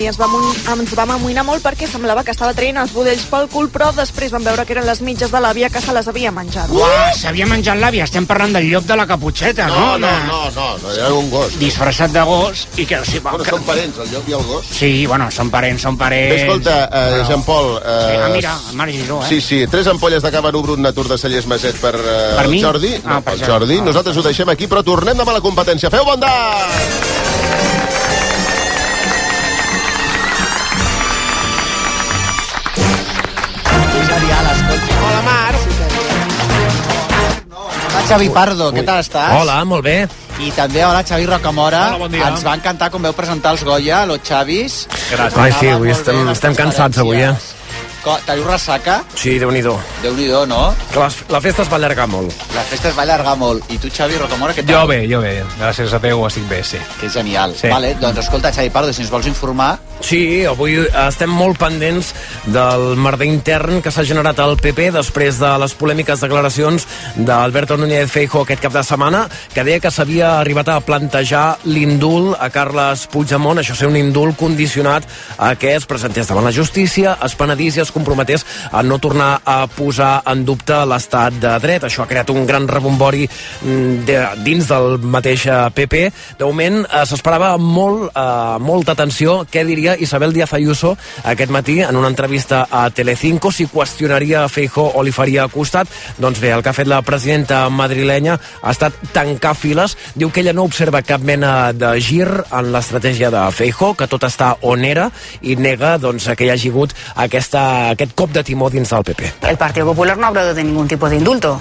i ens vam, ens vam amoïnar molt perquè semblava que estava traient els budells pel cul, però després vam veure que eren les mitges de l'àvia que se les havia menjat. Uah, s'havia menjat l'àvia. Estem parlant del llop de la caputxeta, No, no? no, Una- no, no, no era un gos. Disfressat de gos i que... Sí, va, Bueno, que... són parents, el llop i el gos. sí bueno, són parents, són parents... Escolta, eh, Però- Jean-Paul... Eh, Vinga, Ah, mira, Marc Giró, eh? Sí, sí, tres ampolles de cava Brut Natur de Cellers Maset per, eh, Per mi? el Jordi. Ah, per pel Jordi. Jordi. Ah. Nosaltres ho deixem aquí, però tornem demà a la competència. Feu bon dia! Hola, Marc. Hola, Xavi Pardo, què tal estàs? Hola, molt bé. I també hola, Xavi Rocamora. Hola, bon dia. Ens va encantar com veu presentar els Goya, los Xavis. Gràcies. Ai, sí, Anava avui molt estem, bé les estem cansats, avui, eh? conferències. Co- Teniu ressaca? Sí, déu-n'hi-do. Déu-n'hi-do, no? Que La, la festa es va allargar molt. La festa es va allargar molt. I tu, Xavi Rocamora, què tal? Jo bé, jo bé. Gràcies a Déu estic bé, sí. Que genial. Sí. Vale, doncs escolta, Xavi Pardo, si ens vols informar... Sí, avui estem molt pendents del merder intern que s'ha generat al PP després de les polèmiques declaracions d'Alberto Núñez Feijóo aquest cap de setmana, que deia que s'havia arribat a plantejar l'indult a Carles Puigdemont, això ser un indult condicionat a que es presentés davant la justícia, es penedís i es comprometés a no tornar a posar en dubte l'estat de dret. Això ha creat un gran rebombori mm, de, dins del mateix eh, PP. De moment eh, s'esperava molt, eh, molta atenció què diria Isabel Díaz Ayuso aquest matí en una entrevista a Telecinco, si qüestionaria Feijó o li faria costat. Doncs bé, el que ha fet la presidenta madrilenya ha estat tancar files. Diu que ella no observa cap mena de gir en l'estratègia de Feijó, que tot està on era i nega doncs, que hi hagi hagut aquesta, aquest cop de timó dins del PP. El Partido Popular no ha hablado de ningún tipo de indulto.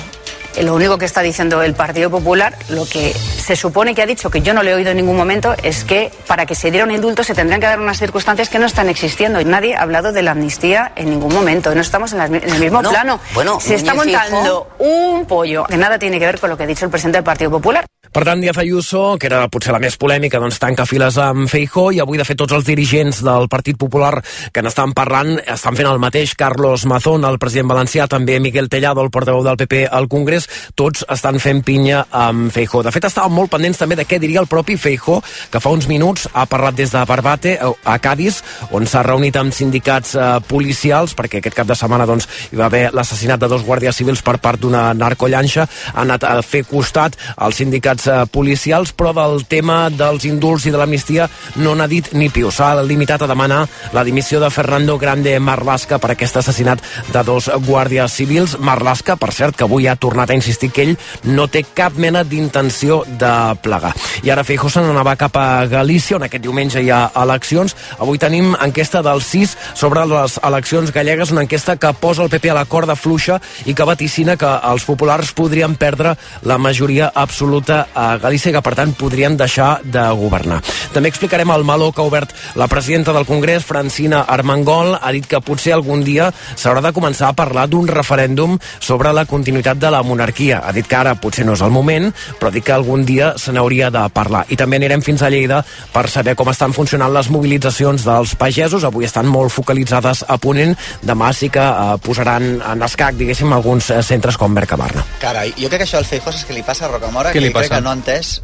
Eh, Lo único que está diciendo el Partido Popular, lo que se supone que ha dicho, que yo no le he oído en ningún momento, es que para que se diera un indulto se tendrán que dar unas circunstancias que no están existiendo. Y Nadie ha hablado de la amnistía en ningún momento. No estamos en, las mi- en el mismo Bueno, plano. bueno, se está Núñez Feijóo- montando un pollo que nada tiene que ver con lo que ha dicho el presidente del Partido Popular. Per tant, Díaz Ayuso, que era potser la més polèmica, doncs tanca files amb Feijó i avui, de fet, tots els dirigents del Partit Popular que n'estan parlant estan fent el mateix. Carlos Mazón, el president valencià, també Miguel Tellado, el portaveu del PP al Congrés, tots estan fent pinya amb Feijó. De fet, estàvem molt pendents també de què diria el propi Feijó, que fa uns minuts ha parlat des de Barbate eh, a Cádiz, on s'ha reunit amb sindicats eh, policials, perquè aquest cap de setmana doncs, hi va haver l'assassinat de dos guàrdies civils per part d'una narcollanxa, ha anat a fer costat als sindicats eh, policials, però del tema dels indults i de l'amnistia no n'ha dit ni piu. S'ha limitat a demanar la dimissió de Fernando Grande Marlaska per aquest assassinat de dos guàrdies civils. Marlaska, per cert, que avui ha tornat a insistir que ell no té cap mena d'intenció de plegar. I ara Feijó se n'anava cap a Galícia, on aquest diumenge hi ha eleccions. Avui tenim enquesta del 6 sobre les eleccions gallegues, una enquesta que posa el PP a la corda fluixa i que vaticina que els populars podrien perdre la majoria absoluta a Galícia i que, per tant, podrien deixar de governar. També explicarem el meló que ha obert la presidenta del Congrés, Francina Armengol, ha dit que potser algun dia s'haurà de començar a parlar d'un referèndum sobre la continuïtat de la monarquia. Ha dit que ara potser no és el moment, però ha dit que algun dia se n'hauria de parlar. I també anirem fins a Lleida per saber com estan funcionant les mobilitzacions dels pagesos. Avui estan molt focalitzades a Ponent. Demà sí que eh, posaran en escac, diguéssim, alguns eh, centres com Mercabarna. Carai, jo crec que això del Feijós és que li passa a Rocamora, Què que li crec passa? que no ha entès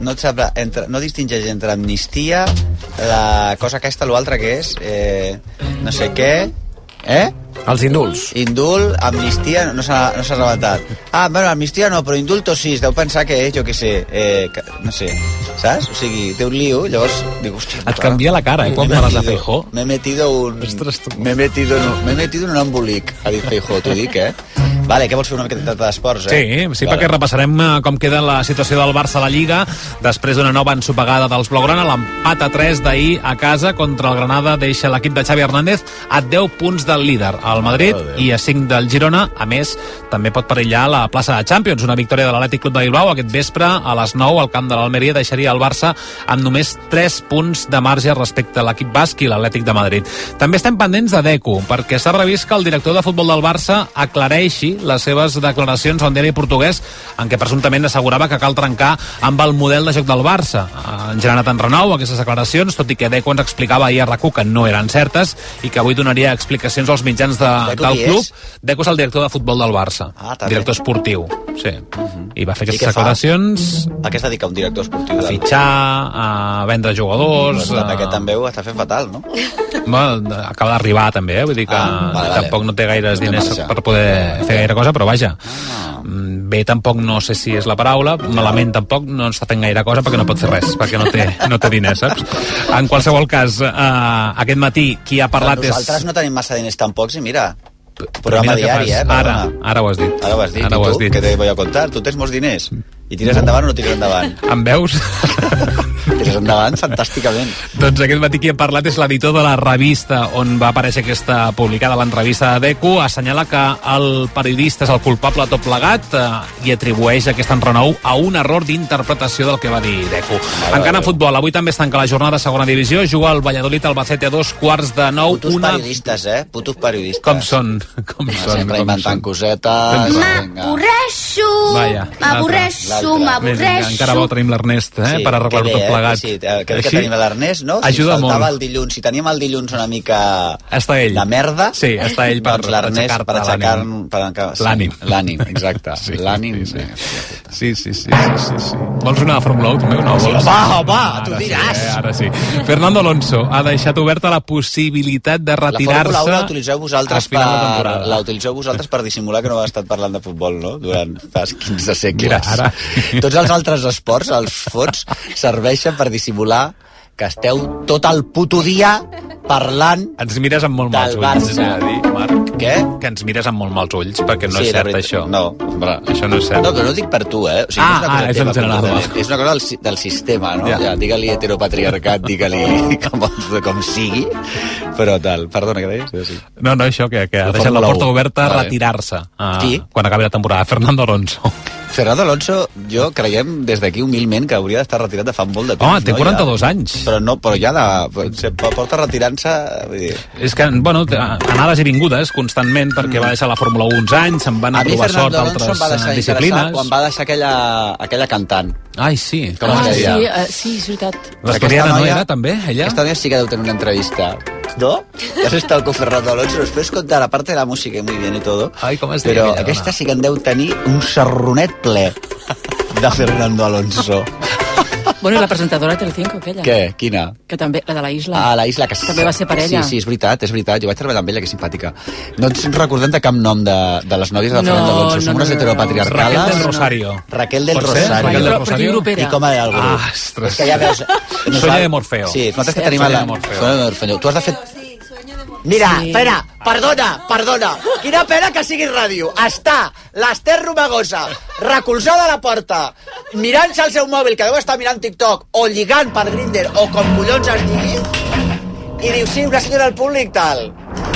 no, et sap, entre, no distingeix entre amnistia, la cosa aquesta, l'altra que és, eh, no sé què, eh? Els indults. Indult, amnistia, no s'ha no s'ha arrebatat. Ah, bueno, amnistia no, però indulto sí, es deu pensar que, jo què sé, eh, que, no sé, saps? O sigui, té un lío, llavors dic, hòstia, Et canvia la cara, eh, quan M'he parles de metido- Feijó. M'he metido un... Ostres, tu. M'he metido, en un- m'he metido en un embolic, ha dit Feijó, t'ho dic, eh? Vale, què vols fer una miqueta d'esports, Sí, eh? sí, vale. perquè repassarem eh, com queda la situació del Barça a la Lliga després d'una nova ensopegada dels Blaugrana. L'empat a 3 d'ahir a casa contra el Granada deixa l'equip de Xavi Hernández a 10 punts del líder, al Madrid i a 5 del Girona. A més, també pot perillar la plaça de Champions. Una victòria de l'Atlètic Club de Bilbao aquest vespre a les 9 al camp de l'Almeria deixaria el Barça amb només 3 punts de marge respecte a l'equip basc i l'Atlètic de Madrid. També estem pendents de Deco, perquè s'ha previst que el director de futbol del Barça aclareixi les seves declaracions al diari portuguès en què presumptament assegurava que cal trencar amb el model de joc del Barça. Eh, Han generat en renou aquestes declaracions, tot i que Deco ens explicava ahir a rac que no eren certes i que avui donaria explicacions als mitjans de, Deco del qui club. és? Deco és el director de futbol del Barça, Ah, també. Mhm. director esportiu. Sí. I va fer I què aquestes fa? declaracions A què es dedica un director esportiu? a del- fitxar, a vendre jugadors... Resulta que a- aquest també ho està fent fatal, no? Bueno, acaba d'arribar també, eh? vull dir que Ah, vale, vale. tampoc no té gaires Té diners marge. per poder fer gaire cosa, però vaja Mm, bé tampoc no sé si és la paraula malament tampoc no està fent gaire cosa perquè no pot fer res, perquè no té, no té diners saps? en qualsevol cas eh, aquest matí qui ha parlat és Nosaltres no tenim massa diners tampoc, si mira, Però mira programa què diari, fas. eh? ara, perdona. ara ho has dit Ara ho has dit, ara i ho has tu, dit. Mm. que te voy a contar, tu tens molts diners. I tires endavant o no tires endavant? em veus? tires endavant fantàsticament. Doncs aquest matí qui ha parlat és l'editor de la revista on va aparèixer aquesta publicada l'entrevista de Deco, assenyala que el periodista és el culpable de tot plegat eh, i atribueix aquest enrenou a un error d'interpretació del que va dir Deco. Encara en futbol, avui també es tanca la jornada de segona divisió, juga el Valladolid Albacete a dos quarts de nou, Putos una... periodistes, eh? Putos periodistes. Com són? Com Home, són? Sempre Com inventant són? cosetes. vinga. M'avorreixo, Vaja, m'avorreixo, l'altra. Més, vinga, encara bo m'avorreixo. tenim l'Ernest, eh, Sí, per que arreglar-ho bé, tot eh? plegat. Sí, eh, que bé que Així tenim l'Ernest, no? Si ens ajuda faltava molt. el dilluns, si teníem el dilluns una mica... Està ell. La merda. Sí, està ell per doncs l'Ernest aixecar-te per aixecar... l'ànim. Per aixecar L'ànim. Sí, l'ànim, exacte. Sí, l'ànim. eh, sí, sí. sí. Sí, sí, sí, sí, sí, sí. Vols una Fórmula 1 també o no? Vols? home, home, Ara tu sí, diràs. eh, ara sí. Fernando Alonso ha deixat oberta la possibilitat de La Fórmula 1 retirar-se la utilitzeu vosaltres a per, final de temporada. la utilitzeu vosaltres per dissimular que no heu estat parlant de futbol, no? Durant fas 15 segles. Mira, ara. Tots els altres esports, els fots, serveixen per dissimular que esteu tot el puto dia parlant... Ens mires amb molt Del mals ulls, Barça. hem de dir, Marc. Què? Que ens mires amb molt mals ulls, perquè no Sí, és la cert, veritat- això. No, home, Això no és cert. No, però no ho dic per tu, eh? O sigui, Ah, no ah, és en teva, general, completament. va. És una cosa del, si- del sistema, no? Ja. Ja. ja digue-li heteropatriarcat, digue-li com, com sigui, però tal. Perdona, què deies? Sí, sí. No, no, això, que, que ha La deixat la Fórmula porta 1. oberta a Vale. retirar-se ah, Qui? quan acabi la temporada. Fernando Alonso. Fernando Alonso, jo creiem des d'aquí humilment que hauria d'estar retirat de fa molt de temps. Home, té no? 42 ja. anys. Però no, però ja de, se porta retirant-se... vull dir. És que, bueno, té- anades i vingudes constantment, perquè va deixar la Fórmula 1 uns anys, se'n van Mm. A mi aprovar sort Fernando Alonso em altres va eh, deixar interessar quan disciplines. va deixar aquella, aquella cantant. Ai, sí. Com es Ah, sí, deia? eh, sí, és veritat. L'Estoriana Aquesta no noia- era, també, ella? Esta noia sí que deu tenir una entrevista. ¿No? Has estado con Fernando Alonso, nos puedes contar, aparte de la música, muy bien y todo. Ai, com es deia Però aquella aquesta dona? sí que en deu tenir un serronet ple de Fernando Alonso. Bueno, i la presentadora de Telecinco, aquella. Què? Quina? Que també, la de la isla. A la Isla que També va ser parella. Sí, sí, és veritat, és veritat. Jo vaig treballar amb ella, que simpàtica. No ens recordem de cap nom de, de les noies de No, Fernando Alonso. no, Som unes no, no, no. heteropatriarcales. Raquel del Rosario. Raquel del Pot ser? Rosario. Raquel Raquel del Però- però qui Rosario. europea? I com era el grup? Ah, ostres. És que ja veus... Sueño de Morfeo. Sí, nosaltres que tenim... Sueño la- de Morfeo. Sueño de Morfeo. Tu has de fer... Mira, Sí. espera, perdona, perdona. Quina pena que sigui ràdio. Està l'Ester Romagosa recolzada a la porta, mirant-se el seu mòbil, que deu estar mirant TikTok, o lligant per Grindr, o com collons es digui, i diu, sí, una senyora al públic, tal.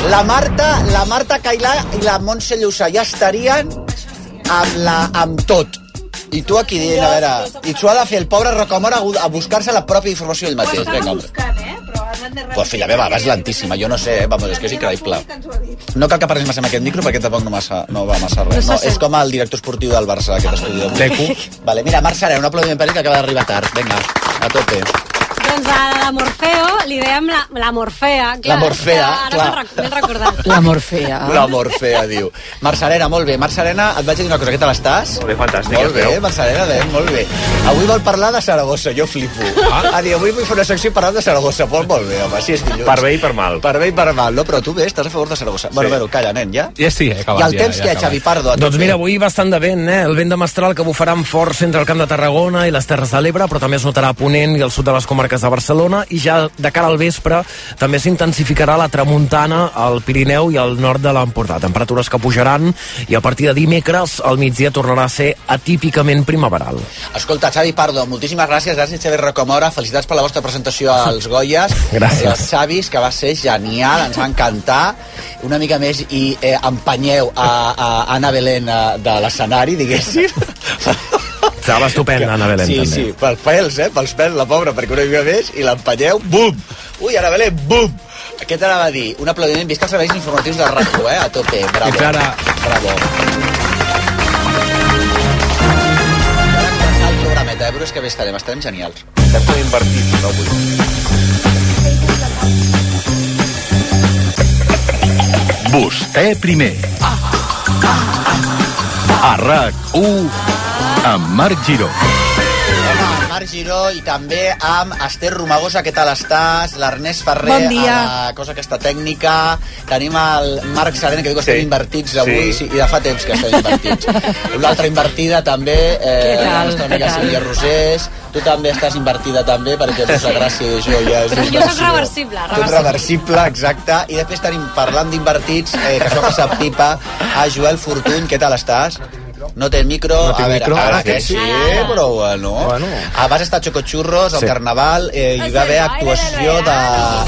La Marta, la Marta Cailà i la Montse Llussà ja estarien amb, la, amb tot. I tu aquí dient, a veure, i s'ho ha de fer el pobre Rocamora a a buscar-se la pròpia informació ell mateix. Vinga, home. Pues filla meva, vas lentíssima, jo no sé, eh? Vamos, és que és increïble. No cal que parlis massa amb aquest micro perquè tampoc no, massa, no va massa res. No, és com el director esportiu del Barça, aquest estudi d'avui. Deco. Vale, mira, Marc Sara, un aplaudiment per ell que acaba d'arribar tard. Vinga, a tope. Doncs a la Morfeo li dèiem la, la Morfea. Clar, La Morfea, Ara clar. m'he rec- m'he recordat. La Morfea. La Morfea, diu. Marc Serena, molt bé. Marc Serena, et vaig a dir una cosa, què tal estàs? Molt bé, fantàstic. Molt bé, Marc Serena, bé, molt bé. Avui vol parlar de Saragossa, jo flipo. Ah? Ha dit, avui vull fer una secció parlant de Saragossa. Pues molt bé, home, si és dilluns. Per bé i per mal. Per bé i per mal, no? Però tu bé, estàs a favor de Saragossa. Bueno, bueno, calla, nen, ja? Ja sí, he acabat, I el ja, temps ja que hi he ha, acabat. Xavi Pardo? a Doncs tope? mira, avui bastant de vent, eh? El vent de mestral que bufarà amb força entre el Camp de Tarragona i les Terres de l'Ebre, però també es notarà a Ponent i al sud de les comarques de Barcelona, i ja de cara al vespre també s'intensificarà la tramuntana al Pirineu i al nord de l'Empordà. Temperatures que pujaran i a partir de dimecres al migdia tornarà a ser atípicament primaveral. Escolta, Xavi Pardo, moltíssimes gràcies. Gràcies, Xavi Rocamora. Felicitats per la vostra presentació als Goyes. Gràcies. I als Xavis, que va ser genial, ens va encantar. Una mica més i eh, empenyeu a, a Anna Belén eh, de l'escenari, diguéssim. Estava estupenda, Anna Belén, sí, també. sí, pels pèls, eh? Pels pèls, la pobra, perquè una mica més, i l'empenyeu, bum! Ui, Anna Belén, bum! Què t'anava a dir? Un aplaudiment vist als serveis informatius de RACO, eh? A tope, bravo. Fins ara. Bravo. Ara començar el programeta, eh? Veuràs que bé estarem, estarem genials. Vostè primer. A RAC1 amb Marc Giró. Home, amb Marc Giró i també amb Esther Romagosa, què tal estàs? L'Ernest Ferrer, Bon dia. a la cosa aquesta tècnica. Tenim el Marc Serena, que diu que estem invertits avui, sí. i de fa temps que estem invertits. L'altra invertida també, eh, Què la tal? nostra Què amiga tal? Sílvia Rosés. Tu també estàs invertida també, perquè Rosa Gràcia i jo ja és Jo soc inversió. reversible, Tu ets reversible. reversible, exacte. I després tenim, parlant d'invertits, eh, que això passa pipa, a Joel Fortuny, què tal estàs? No té micro, No tinc a veure, micro. ara Ara que sí. Eh, sí, però bueno. bueno. Ah, vas estar a Chocochurros, al Sí. Carnaval, eh, hi va haver actuació de...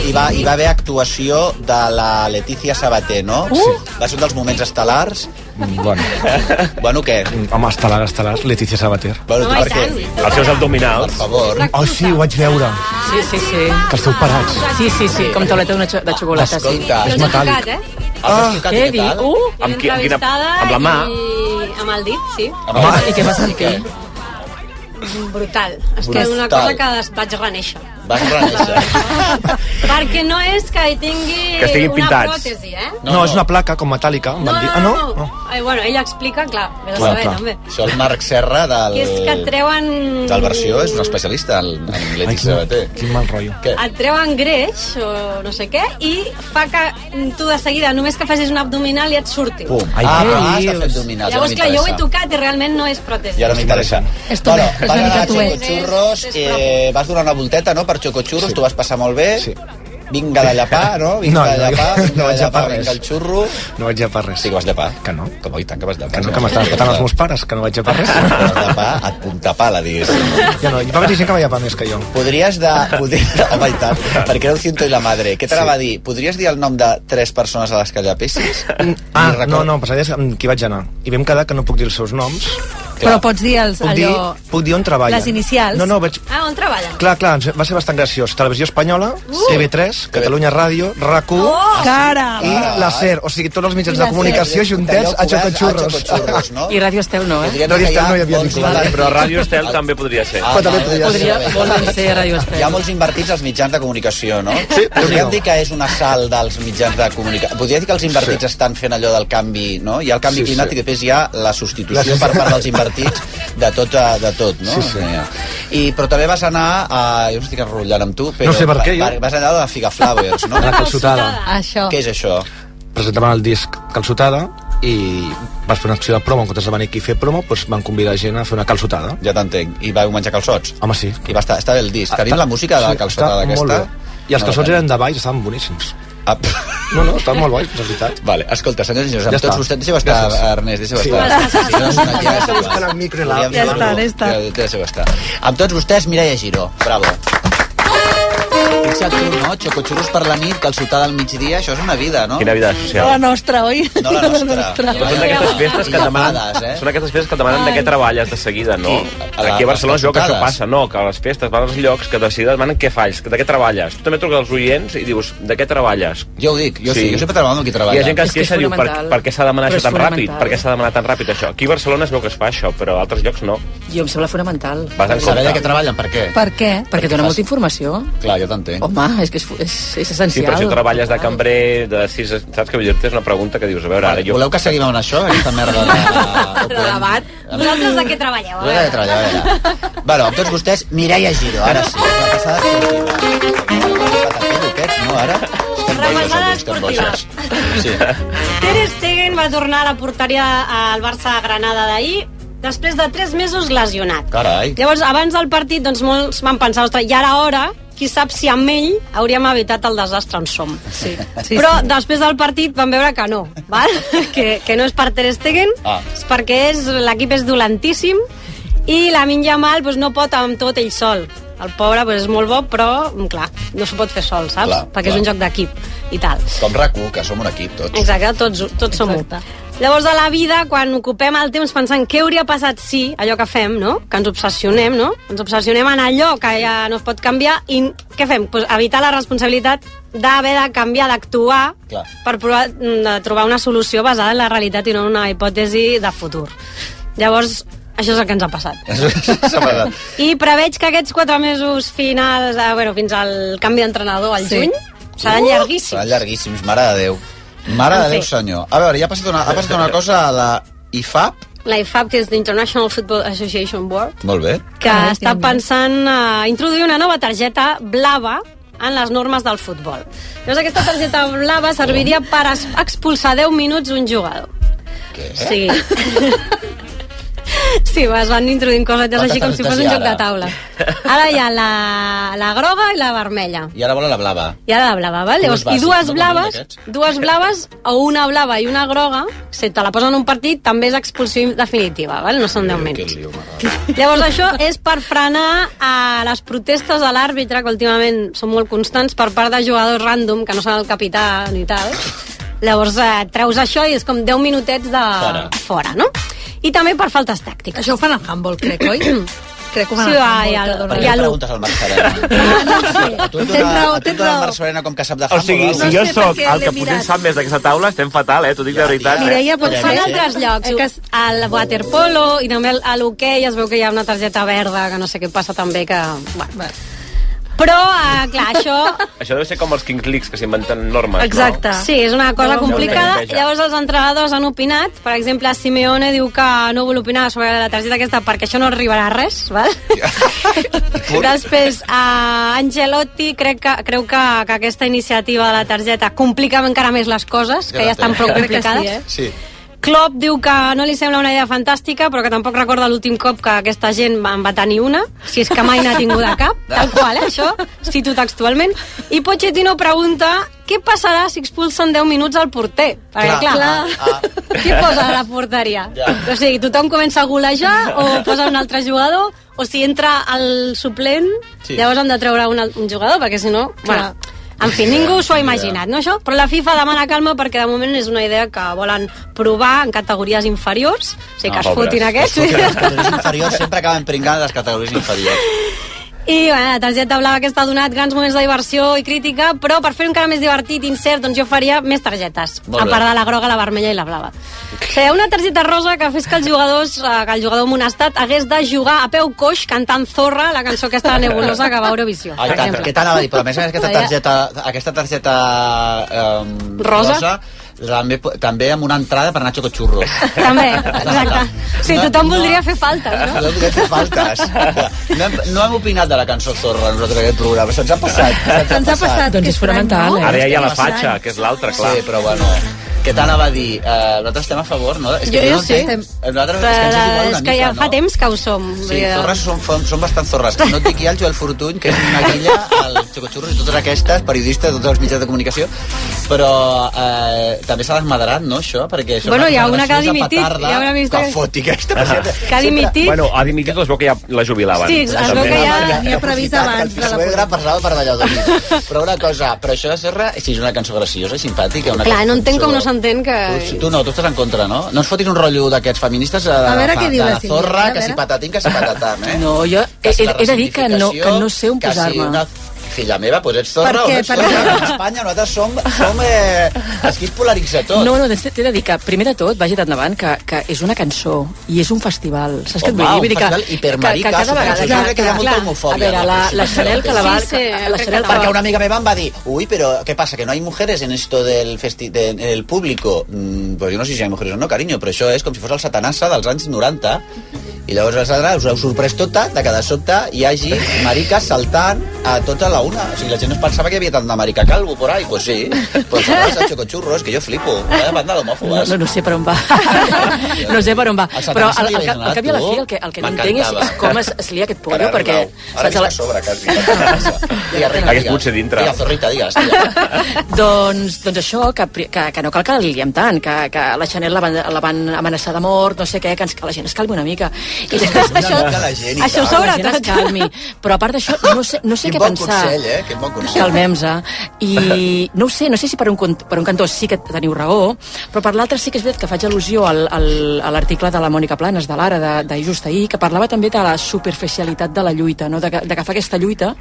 Hi va, hi va haver actuació de la Letícia Sabater, no? Uh! Sí. Va ser un dels moments estel·lars. Mm, Bueno. Bueno, què? Home, estel·lar, estel·lar, Letícia Sabater. Bueno, tu Home, per i què? tant. Els seus abdominals. Per favor. Oh, sí, ho vaig veure. Sí, sí, sí. Que esteu parats. Sí, sí, sí, com tauleta d'una xo- de xocolata, sí. Escolta, Jo És els he metàl·lic. tocat, eh? Ah, què Què diu? tal? Uh! Amb, qui, amb, quina, amb la mà? I amb el dit, sí. I què va sentir? Brutal. És que Brutal. és una cosa que es- vaig reneixer. Vas reneixer. Perquè no és que hi tingui Que estiguin una pintats. pròtesi, eh? No, no, és una placa com metàl·lica. em No, van dir. Ah, no, no? no. no. Eh, bueno, ella explica, clar, ve de Clar, saber, clar. també. Això el Marc Serra del... Que és que et treuen... Del versió és un especialista en, en Ai, Letícia Sabater. quin, quin mal rotllo. Què? et treuen greix o no sé què i fa que tu de seguida només que facis un abdominal i et surti. Pum. Ai, ah, ah, què s'ha dius? fet dominats. Llavors, clar, jo ho he tocat. tocat i realment no és pròtesi. I ara m'interessa. És tu, és una vas anar mica a tu, eh? Xocochurros, És- és eh, vas donar una volteta, no?, per Xocochurros, sí. tu vas passar molt bé. Sí. Vinga de llapar, no? Vinga No, de no, llapar, no vinga de llapar, vaig llapar vinga res. el xurro. No vaig llepar res. Sí que vas llapar. Que no. Com, i tant que vas llepar. Que no, que m'estan escoltant els meus pares, que no vaig llepar res. Vas llepar, et punta pala, diguéssim. Ja no, hi va haver gent que va llepar més que jo. Podries de... Podries, home, i tant, perquè era un cinto i la madre. Què te la va dir? Podries dir el nom de tres persones a les que llapessis? Ni Ah, record- no, no, però sabies amb qui vaig anar. I vam quedar que no puc dir els seus noms. Però pots dir els, Puc dir, allò... puc dir on treballen. les inicials? No, no, vaig... Ah, on treballen? Clar, clar, ens- va ser bastant graciós. Televisió Espanyola, TV3, Catalunya Ràdio, RAC1 Cara! i la SER. O sigui, tots els I mitjans la de comunicació Allò juntets a cobert Xocotxurros. Xocotxurros, no? I Ràdio Estel no, eh? Podríem No, dir que Estel no hi havia molts ningú. invertits. Però Ràdio Estel també podria ser. Ah, Però també vale. podria Podria, volen ser Ràdio Hi ha Estel. molts invertits als mitjans de comunicació, no? Sí, podríem. Podríem dir que és un assalt dels mitjans de comunicació. Podria dir que els invertits estan fent allò del canvi, no? Hi ha el canvi Sí, sí. climàtic i després hi ha la substitució La- per part dels invertits de tot, eh, de tot no? Sí, sí. I, però també vas anar a... Jo m'estic enrotllant amb tu, però No sé per què, jo. va- vas anar a la Figa Flowers, no? Ah, A la calçotada. Això. Què és això? presentaven el disc calçotada i vas fer una acció de promo en comptes de venir aquí a fer promo doncs van convidar gent a fer una calçotada Ja t'entenc. I vau menjar calçots? home sí I va estar, està bé el disc. Tenim Està- la música de la calçotada està molt aquesta? bé. i els calçots eren de baix estaven boníssims eren... no, no, estaven molt bons, de veritat Ah. Vale, escolta, senyors i senyors, amb Ja ja tots està. vostès, deixeu estar, Gràcies. Ernest, deixeu Sí. estar. Gràcies. Si no, és una llera, Gràcies. Buscant el micro i la- Podríem Ja fer està, algú. ja està. Ja- Deixeu estar. Amb tots vostès, Mireia Giró. Bravo. Fixa't tu, no? Xocotxurros per la nit, calçotada al migdia, això és una vida, no? Quina vida No social. la nostra, oi? No la nostra. Però són d'aquestes festes que et demanen, Llapades, són aquestes festes que et demanen de què treballes de seguida, no? Qui? Eh? A la- Aquí a Barcelona les jo que això calçotades. passa, no, que a les festes van als llocs que de seguida et demanen què fas, de què treballes. Tu també truques als oients i dius, de què treballes? Jo ho dic, jo sí, Sí. jo sempre treballo amb qui Hi ha treballa. gent que es És que és queixa i diu, per, fonamental. per què s'ha de demanar Però això és tan ràpid? fonamental. Per què s'ha de demanar tan ràpid això? Aquí a Barcelona es veu que es fa això, però a altres llocs no. Jo em sembla fonamental. Vas en Saber de què compte. treballen, per què? Per què? Perquè dona molta informació. Clar, jo t'entenc. Home, és que és, fu- és, és essencial. Sí, però si treballes de cambrer, de sis, saps que vull dir-te és una pregunta que dius, a veure, ara jo... Voleu que seguim amb això, aquesta merda de... De debat. Vosaltres de què treballeu? A No era de veure? treballar, a veure. Bueno, amb tots vostès, Mireia Giro, ara sí. La passada esportiva. Aquest, no, ara? Estem bojos, avui, estem bojos. Sí. Ter Stegen va tornar a la porteria al Barça-Granada d'ahir després de 3 mesos lesionat. Carai. Llavors, abans del partit, doncs, molts van pensar, ostres, ja era hora, qui sap si amb ell hauríem evitat el desastre on som. Sí. Sí, Sí, Però sí. sí. després del partit van veure que no, val? Que, que no és per Ter Stegen, Ah. ah. és perquè és- l'equip és dolentíssim i la Minja Mal doncs, no pot amb tot ell sol. El pobre doncs, és molt bo, però, mm, clar, no s'ho pot fer sol, saps? Clar, perquè és clar. un joc d'equip i tal. Com RAC1, que som un equip, tots. Exacte, tots, tots som un. Exacte. Llavors, a la vida, quan ocupem el temps pensant què hauria passat si, allò que fem, no? Que ens obsessionem, no? Ens obsessionem en allò que ja no es pot canviar i què fem? Pues evitar la responsabilitat d'haver de canviar, d'actuar Clar. per provar, mm, de trobar una solució basada en la realitat i no en una hipòtesi de futur. Llavors, això és el que ens ha passat. S'ha passat. I preveig que aquests quatre mesos finals, eh, bueno, fins al canvi d'entrenador al Sí. Uh! juny, seran llarguíssims. Seran llarguíssims, mare de Déu. Mare En de Déu, fi. senyor. A veure, ja ha passat una, ha passat una cosa a la IFAP, la IFAB, que és l'International Football Association Board, Molt bé. que ah, està pensant a introduir una nova targeta blava en les normes del futbol. Llavors aquesta targeta blava serviria per es- expulsar 10 minuts un jugador. Què? Sí. Sí, es van introduint cosetes Quantes així com si fos targetes un hi ha joc de ara? taula. Ara hi ha la, la groga i la vermella. I ara volen la blava. I ara la blava, val? Dues Llavors, I bases, dues no blaves, com diuen aquests. dues blaves, o una blava i una groga, si te la posen en un partit, també és expulsió definitiva, val? no són 10 minuts. Llavors, això és per frenar a les protestes de l'àrbitre, que últimament són molt constants, per part de jugadors random, que no són el capità ni tal. Llavors, eh, treus això i és com 10 minutets de... Fora. fora no? I també per faltes tàctiques. Això ho fan al handball, crec, oi? crec que ho fan sí, al va, handball, i al, perdona. i al, preguntes al Barcelona? Ah, Tu ets Tens una- raó, tu ets tens una raó. Barcelona com que sap de O handball. sigui, si jo sóc el que potser mirat. en sap més d'aquesta taula, estem fatal, eh? T'ho dic de veritat. Mireia, eh? pot fer en altres llocs. Al waterpolo i també al- a l'hoquei es veu que hi ha una targeta verda, que no sé què passa també, que... Bueno. Però, eh, clar, això... Això deu ser com els Kings Leagues, que s'inventen normes, no? Sí, és una cosa No, complicada. no, no. Llavors els entrenadors han opinat. Per exemple, Simeone diu que no vol opinar sobre la targeta aquesta perquè això no arribarà a res, val? Després, a Angelotti crec que, creu que, que aquesta iniciativa de la targeta complica encara més les coses, que ja estan prou complicades. eh? Sí, Klopp diu que no li sembla una idea fantàstica, però que tampoc recorda l'últim cop que aquesta gent va- en va tenir una, si és que mai n'ha tinguda cap, tal qual, eh, això, cito textualment. I Pochettino pregunta què passarà si expulsen 10 minuts al porter? Perquè, clar, Clar, clar qui posa a la porteria? Ja. O sigui, tothom comença a golejar o posa un altre jugador, o si entra el suplent, Sí. sí. llavors han de treure un, al- un jugador, perquè si no... Bueno, Clar. en fi, ningú s'ho ha imaginat, no, això? Però la FIFA demana calma perquè de moment és una idea que volen provar en categories inferiors, o Ah, sigui que es fotin aquests. eh? Les categories inferiors sempre acaben pringant les categories inferiors. I bueno, la targeta blava aquesta ha donat grans moments de diversió i crítica, però per fer encara més divertit i incert, doncs jo faria més targetes, Molt a bé. part de la groga, la vermella i la blava. O sigui, una targeta rosa que fes que els jugadors, eh, que el jugador amonestat hagués de jugar a peu coix cantant Zorra, la cançó aquesta nebulosa que va a Eurovisió. Ai, per tant, exemple. què t'anava a dir? Però a més, a més aquesta Vaja. targeta, aquesta targeta um, Rosa? també, també amb una entrada per Nacho Cochurros. També, exacte. Sí, tothom voldria fer faltes, no? No podem fer faltes. No hem, no hem opinat de la cançó Zorra nosaltres aquest programa. Se'ns ha passat. Se'ns ha passat. Doncs és fonamental, eh? Ara ja hi ha la fatxa, que és l'altra, clar. Sí, però bueno... Què t'anava a dir? Uh, nosaltres estem a favor, no? Jo- jo no sí. entenc. Nosaltres Però és que ens és igual és una que mica, ja no? fa temps que ho som. eh, Sí, zorres són, fon- són bastant zorres. No et dic ja el Joel Fortuny, que és una guilla, el Xocotxurros i totes aquestes, periodistes, tots els mitjans de comunicació, però eh, també s'ha desmaderat, no, això? Perquè són Bueno, hi ha unes una que declaracions ha de dimitit, petarda hi ha una ministra Que que- foti aquesta presenta. Que ha dimitit. Bueno, ha dimitit, es veu que ja la jubilaven. Sí, es veu que ja tenia previst abans La de la suegra parlava per ballador. Però una cosa, però això de Serra, si és una cançó graciosa i simpàtica... Una Clar, no cançó- entenc com no s'entén que... Tu, tu no, tu estàs en contra, no? No ens fotis un rotllo d'aquests feministes eh, de, A veure fa- què diu de la la Sílvia, zorra, a que si veure. patatín, que si patatán, eh? No, jo he, he, he de dir que no, que no sé on que si posar-me. una Filla meva, doncs ets zorra Per o què? no ets Per zorra. què? A Espanya nosaltres som, som eh, esquís polaritzadors. No, no, doncs t'he de dir que, primer de tot, vagi d'endavant, que, que és una cançó i és un festival. Saps què et Home, vull dir? un Vull dir que, festival hipermarica, suposo. Jo crec que hi ha molta homofòbia, A veure, la, no? la Chanel que la va... la Chanel que perquè la una amiga meva em va dir uy, pero ¿qué pasa? ¿que no hay mujeres en esto del festi de, en el público? Mm, pues jo no sé si hi ha mujeres o no, carinyo, però això és com si fos el satanassa dels anys 90 i llavors la Sandra us heu sorprès tota de que de sobte hi hagi maricas saltant a tota la una. O sigui, la gent es pensava que hi havia tant de marica calvo por ahí, pues sí. Pues ahora se ha chocochurros, que jo flipo. Vaya banda no, d'homòfobes. no, no sé per on va. no sé per on va. Satanàs Però al, li al, havia al, al cap i a la donat, fi tu? el que, el que no entenc és, és M'encantava. com es, es lia aquest pollo, Ara, perquè... Arnau, Ara a m'està a sobre, quasi. Digues, Rita, Hagués digues. pogut ser dintre. Digues, Zorrita, digues. digues. doncs, doncs això, que, pri- que, que no cal que la liguem tant, que, que la Chanel la van, la van amenaçar de mort, no sé què, que, ens, que la gent es calmi una mica. I després Una això, mica la gent i això tal. sobretot. La gent es calmi. Però a part d'això, no sé, no sé Quin què bon pensar. consell, eh? Quin bon consell. Calmem-se. I no ho sé, no sé si per un, cont- per un cantó sí que teniu raó, però per l'altre sí que és veritat que faig al·lusió al, al, a l'article de la Mònica Planes, de l'Ara, de, de just ahir, que parlava també de la superficialitat de la lluita, no? de, que- de agafar aquesta lluita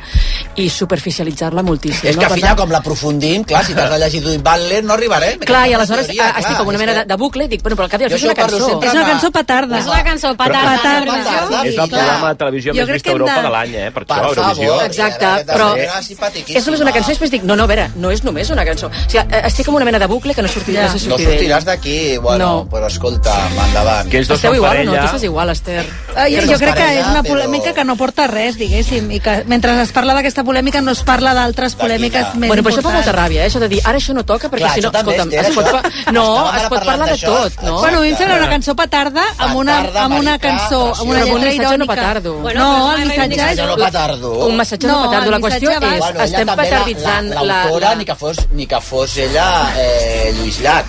i superficialitzar-la moltíssim. És no? que, Per filla, tant- com l'aprofundim, clar, si t'has de llegir Judith Butler, no arribarem. Clar, i aleshores Teoria, teoria, estic clar, com una és mena que- de, de bucle i dic, bueno, però al cap i a la Jo fi és una això parlo cançó. sempre És una amb- cançó petarda. És una cançó petarda. Petarda. petarda. És el programa de televisió Jo més crec vist que a hem Europa de- de l'any, eh? Per, Per això, Eurovisió. favor. Exacte, perfecte, però... És només una cançó i després dic, no, no, a veure, no és només una cançó. O sigui, eh, estic com una mena de bucle que no sortiré, no sé No sortir d'ell. sortiràs d'aquí, bueno, No. però escolta, endavant. Que Esteu igual o no? Tu estàs igual, Esther. Ai, jo crec que és una però- polèmica que no porta res, diguéssim, i que mentre es parla d'aquesta polèmica no es parla d'altres polèmiques més Bueno, però això fa importants. molta ràbia, eh? això de dir, ara això no toca, perquè Clar, si no, això també, escolta'm, Esther, es pot, això. pa- no, Estàvem es ara pot parlant parlar de d'això, tot, no? Bueno, a mi em sembla una cançó petarda amb una, amb una cançó, amb una Però un lletra missatge no irònica. petardo. Bueno, no, el missatge és... no petardo. Un massatge no, petardo. La qüestió és, Bueno, ella estem també la- petarditzant la- L'autora, ni que fos, ni que fos ella eh, Lluís Llach.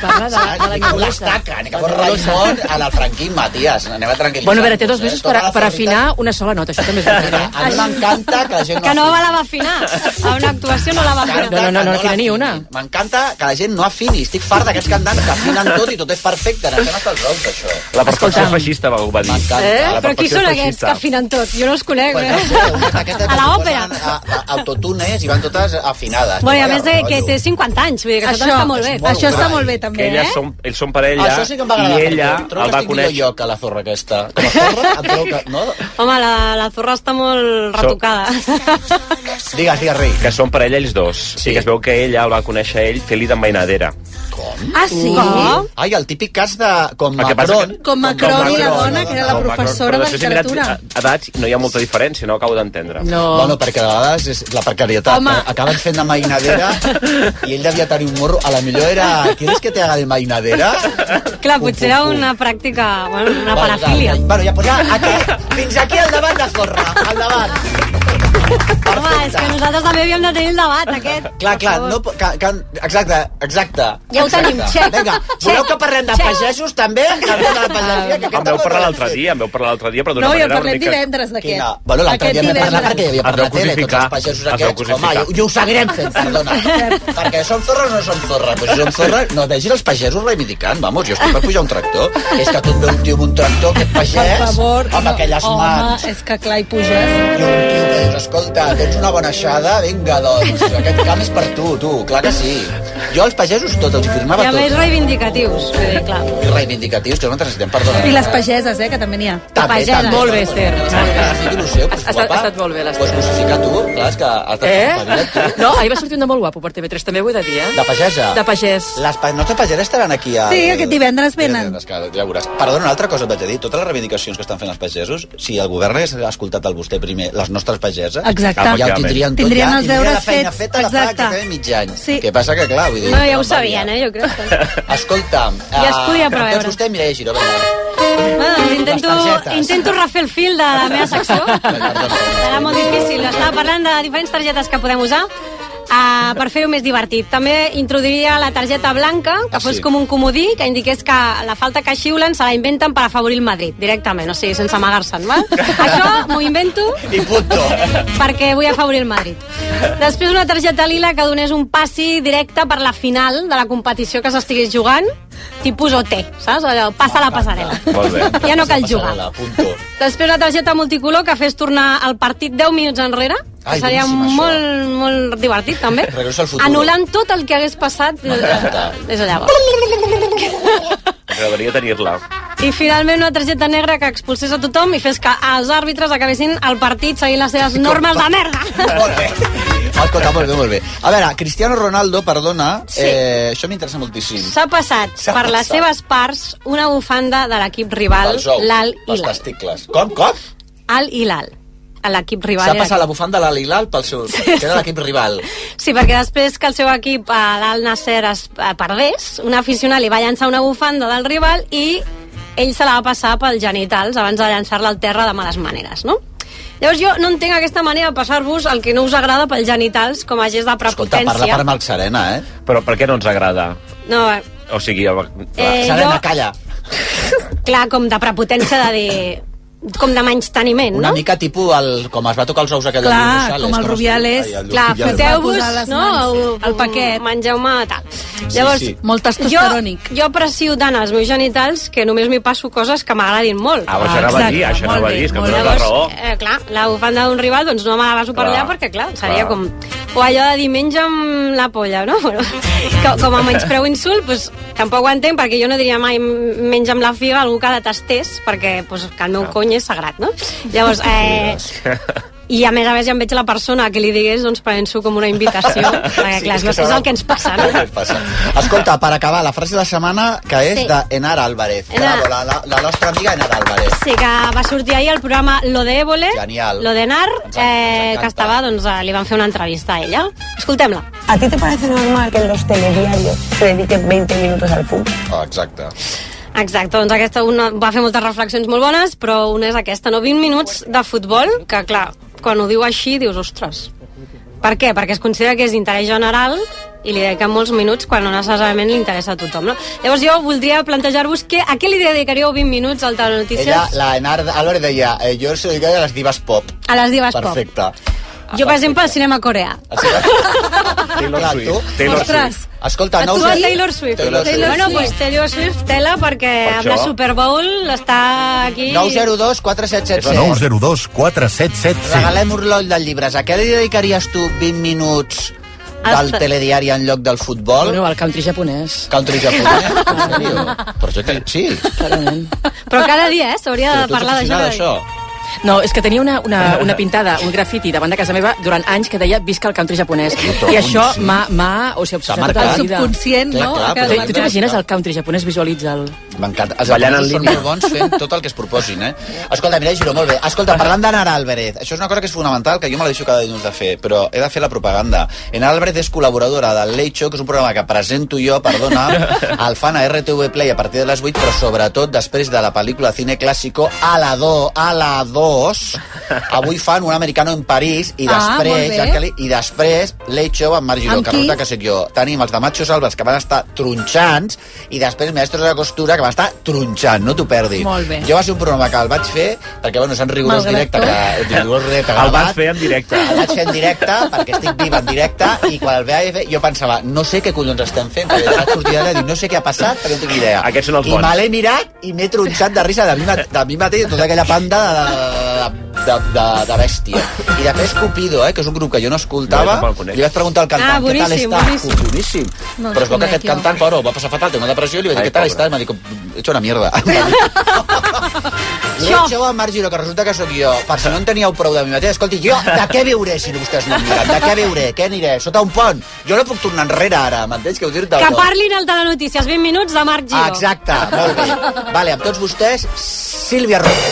Parla de, de la Nicolasa. L'estaca, ni que fos Raimon en el franquisme, ties. Anem a tranquil·litzar. Bueno, a veure, té dos mesos per, Torna a la per felicitat. afinar una sola nota, això també és veritat. A mi m'encanta que la gent Que no la va afinar. A una actuació no la va afinar. M'encanta que l'afini. M'encanta que la gent no afini. Estic fart d'aquests cantants que afinen tot i tot és perfecte. N'estem hasta els ous, això. La perfecció feixista va, ho va dir. Eh? La Però qui perfecció són aquests que feixista. afinen tot? Jo no els conec, Bueno, sí, eh? A l'òpera. A- a- Autotunes i van totes afinades. Bueno, i a més de, que té 50 anys, vull dir que això, Això- també està molt bé. eh? és molt Això està guai. molt bé, també, Que eh? elles són, ells són parella Això sí que em va agradar. i ella perquè trobo el que va estic conèixer. millor jo que la zorra aquesta. Com a zorra, em trobo que... No? Home, la, la zorra està molt So- retocada. Digues, digues, rei. Que són parella ells dos. Sí. I que es veu que ella el va conèixer ell fent-li d'envainadera. Ah, sí? Com? Ai, el típic cas de... Com El que passa Macron. que- Com Macron i la dona, que era la professora de literatura. edats no hi ha molta diferència, no acabo d'entendre. No. Bueno, perquè a vegades és la precarietat. Home. Home. Acaben fent de mainadera i ell devia tenir un morro. A la millor era... ¿Quieres que te haga de mainadera? Clar, potser era una pràctica, bueno, una parafília. Bueno, ja, pues ja, aquí, fins aquí al davant la zorra. Al davant. Home, és que nosaltres també havíem de tenir el debat aquest. Clar, clar, no, po- que, que, exacte, exacte. Ja ho exacte. tenim, xec. Vinga, voleu que parlem de Xec. pagesos també? Parlem de la pagesia, que Em aquest veu home parlar l'altre dia, em veu parlar l'altre dia, però d'una No, i en manera... parlem divendres d'aquest. Quina? Bueno, l'altre Aquest dia vam parlar divendres. perquè hi havia Es per la veu tele tots crucificar. els pagesos Es veu aquests. Home, crucificar. i, i ho seguirem fent, perdona. perquè són zorres o no són zorres? Pues si són zorres, no vegin els pagesos reivindicant, vamos, jo estic per pujar un tractor. És que tu et ve un tio amb un tractor, aquest Per pagès, favor, amb aquelles home, mans. és que clar, hi puges. I un tio que dius, escolta, tens una bona aixada, vinga, doncs, aquest camp és per tu, tu, clar que sí. Jo als pagesos tot, els hi I firmava a més tot. reivindicatius, vull dir, clar. I reivindicatius, que nosaltres necessitem, perdona. I les pageses, eh, que també n'hi ha. També, també. Molt bé, Esther. Molt bé. Ha estat, ha estat molt bé, l'Esther. Pues crucificar tu, clar, és que has de Eh? No, ahir va sortir un de molt guapo per TV3, també ho he de dir, eh? De pagesa? De pagès. Les pa nostres pageres estaran aquí a... Sí, aquest divendres venen. divendres, que ja veuràs. Perdona, una altra cosa et vaig a dir. Totes les reivindicacions que estan fent els pagesos, si el govern hagués escoltat el vostè primer, les nostres pageses, Exacte. ja ho tindrien tot, Tindrien ja, els tindrien la deures feina fets, feta de fa exacte. exactament mig any. Sí. Què passa que, clar, vull dir... No, ja ho sabien, eh, jo crec. Escolta'm, Ja es podia preveure. Doncs vostè, Mireia Giró, vinga. Bueno, doncs intento, Les targetes. intento refer el fil de la meva secció. Serà molt difícil. Estava parlant de diferents targetes que podem usar uh, per fer-ho més divertit. També introduiria la targeta blanca, que Ah, fos sí. com un comodí, que indiqués que la falta que xiulen se la inventen per afavorir el Madrid, directament, o sigui, sense amagar-se'n, val? Això m'ho invento I punto. perquè vull afavorir el Madrid. Després una targeta lila que donés un passi directe per la final de la competició que s'estigués jugant, tipus OT, saps? Allò, passa la passarel·la. Molt bé. Ja no cal jugar. Passarel·la, punto. Després la targeta multicolor que fes tornar el partit 10 minuts enrere, que Ai, seria boníssim, això. molt, molt divertit també. Regreso al futuro. Anul·lant tot el que hagués passat M'encanta. des de llavors. M'agradaria tenir-la. I finalment una targeta negra que expulsés a tothom i fes que els àrbitres acabessin el partit seguint les seves normes de merda. Escolta, molt bé, molt bé. A veure, Cristiano Ronaldo, perdona, eh, això m'interessa moltíssim. S'ha passat S'ha per les passat. seves parts una bufanda de l'equip rival, Dels ous, l'Al Les Hilal. testicles. Com, com? Al Hilal. A l'equip rival. S'ha era passat la bufanda de l'Al Hilal pel seu... que era l'equip rival. Sí, perquè després que el seu equip, eh, l'Al Nasser, es eh, perdés, un aficionat li va llançar una bufanda del rival i ell se la va passar pels genitals abans de llançar-la al terra de males maneres, no? Llavors jo no entenc aquesta manera de passar-vos el que no us agrada pels genitals com a gest de Escolta, prepotència. parla per Marc Serena, eh? Però per què no ens agrada? No, eh, O sigui, el... Eh, Serena, jo- calla. clar, com de prepotència de dir... com de menys teniment, Una no? mica tipus el, com es va tocar els ous aquell Clar, del Rubiales, com el es diu? Rubiales. Ai, el Clar, Rubiales. foteu-vos, Posar les no? mans, O- al paquet. Mengeu-me tal. Sí, sí. Molt testosterònic. Jo, jo aprecio tant els meus genitals que només m'hi passo coses que m'agradin molt. Ah, però això anava a dir, això anava a dir, és que em dones la Llavors, raó. Eh, clar, la bufanda d'un rival doncs no me la passo per Clar, allà perquè, clar, seria clar. com... O allò de dir, menja'm la polla, no? Bueno, com, com a menyspreu insult, doncs, tampoc ho entenc perquè jo no diria mai "M- menja'm la figa a algú que detestés perquè doncs, que el meu cony és sagrat, no? Llavors, eh, i a més a més ja em veig la persona que li digués doncs penso com una invitació perquè Sí, clar, és sí, que és, és serà- el que ens passa no? Passa. Escolta, per acabar, la frase de la setmana que és Sí. sí. d'Enar Álvarez. Enar. Claro, la, la, la nostra amiga Enar Álvarez. Sí, que va sortir ahir el programa Lo de Évole, Genial. Lo de Nar, eh, que estava, doncs, eh, li van fer una entrevista a ella. Escoltem-la. ¿A ti te parece normal que en los telediarios se dediquen 20 minutos al fútbol? Oh, exacte. Exacte, doncs aquesta una, va fer moltes reflexions molt bones, però una és aquesta, no? 20 minuts de futbol, que clar, quan ho diu així dius, ostres, per què? Perquè es considera que és d'interès general i li dediquen molts minuts quan no necessàriament li interessa a tothom, no? Llavors jo voldria plantejar-vos que, a què li dedicaríeu 20 minuts al Taula Notícies Ella, la Enar Álvarez deia, eh, jo soy gay a les divas pop. a les divas pop? Perfecte. Jo, per exemple, al cinema coreà. Taylor Swift. Taylor Ostres. Swift. Escolta, Ah, no tu us... a Taylor Swift. Taylor Swift. Bueno, pues Taylor Swift, tela, perquè Per amb la això. Super Bowl està aquí... 902 4777. 902 4777. Regalem un lot de llibres. A què li dedicaries tu 20 minuts del Hasta- telediari en lloc del futbol? Bueno, el country japonès. Country japonès? En sèrio? Però jo que... Sí. Però cada dia, eh? Però S'hauria de tu ets parlar aficionada a d'això. això. No, és que tenia una, una, una pintada, un grafiti davant de casa meva durant anys que deia visca el country japonès. Puto, I això sí. m'ha, m'ha o sigui, obsessat tota marcat. la El vida. subconscient, Clar, no? clar, Que però- Tu- tu t'imagines el country japonès visualitza'l. M'encanta. Els Ballant en japonesos són línia. molt bons fent tot el que es proposin, eh? Escolta, Mireia Giró, molt bé. Escolta, parlant d'Anar Álvarez, això és una cosa que és fonamental, que jo me la deixo cada dilluns de fer, però he de fer la propaganda. Anar Álvarez és col·laboradora del Late Show, que és un programa que presento jo, perdona, el fan a RTV Play a partir de les 8, però sobretot després de la pel·lícula Cine Clásico a la 2, a la 2, avui fan un americano en París i Ah, després, molt bé. ja que li- i després Late Show amb Marc Giró, Amb que qui? resulta que sóc jo. Tenim els de Machos Alves, que van estar tronxants, i després Mestres de la Costura, que van estar tronxant, no t'ho perdis. Molt bé. Jo va ser un programa que el vaig fer, perquè, bueno, Sant Rigorós Malgrat directe, tot. que, rigorós directe El vas gravat. fer en directe. El vaig fer en directe, perquè estic viva en directe, i quan el vaig fer, jo pensava, no sé què collons estem fent, perquè vaig sortir d'allà i dic, no sé què ha passat, perquè no tinc idea. Aquests són els I bons. me l'he mirat i m'he tronxat de risa de mi, ma- de mi mateix, de tota aquella panda de, de, de, de bèstia. I després Cupido, eh, que és un grup que jo no escoltava, tampoc el conec. li vaig preguntar al cantant, Ah, què tal boníssim, està? boníssim. Cup, Boníssim. No el Però es veu que conec, aquest jo. cantant, pobre, ho va passar fatal, té una depressió, i li vaig dir, Ai, què tal pobre. està? I m'ha dit, "Com- he hecho una mierda. Jo, jo a Marc Giró, que resulta que sóc jo, per si no en teníeu prou de mi mateix, escolti, jo de què viuré si vostès no em miren? De què viuré? Què aniré? Sota un pont? Jo no puc tornar enrere ara, m'entens? Que ho dir-te Que parlin al Telenotícies, 20 minuts de Marc Giro. Exacte, molt bé. Vale, amb tots vostès, Sílvia Roig.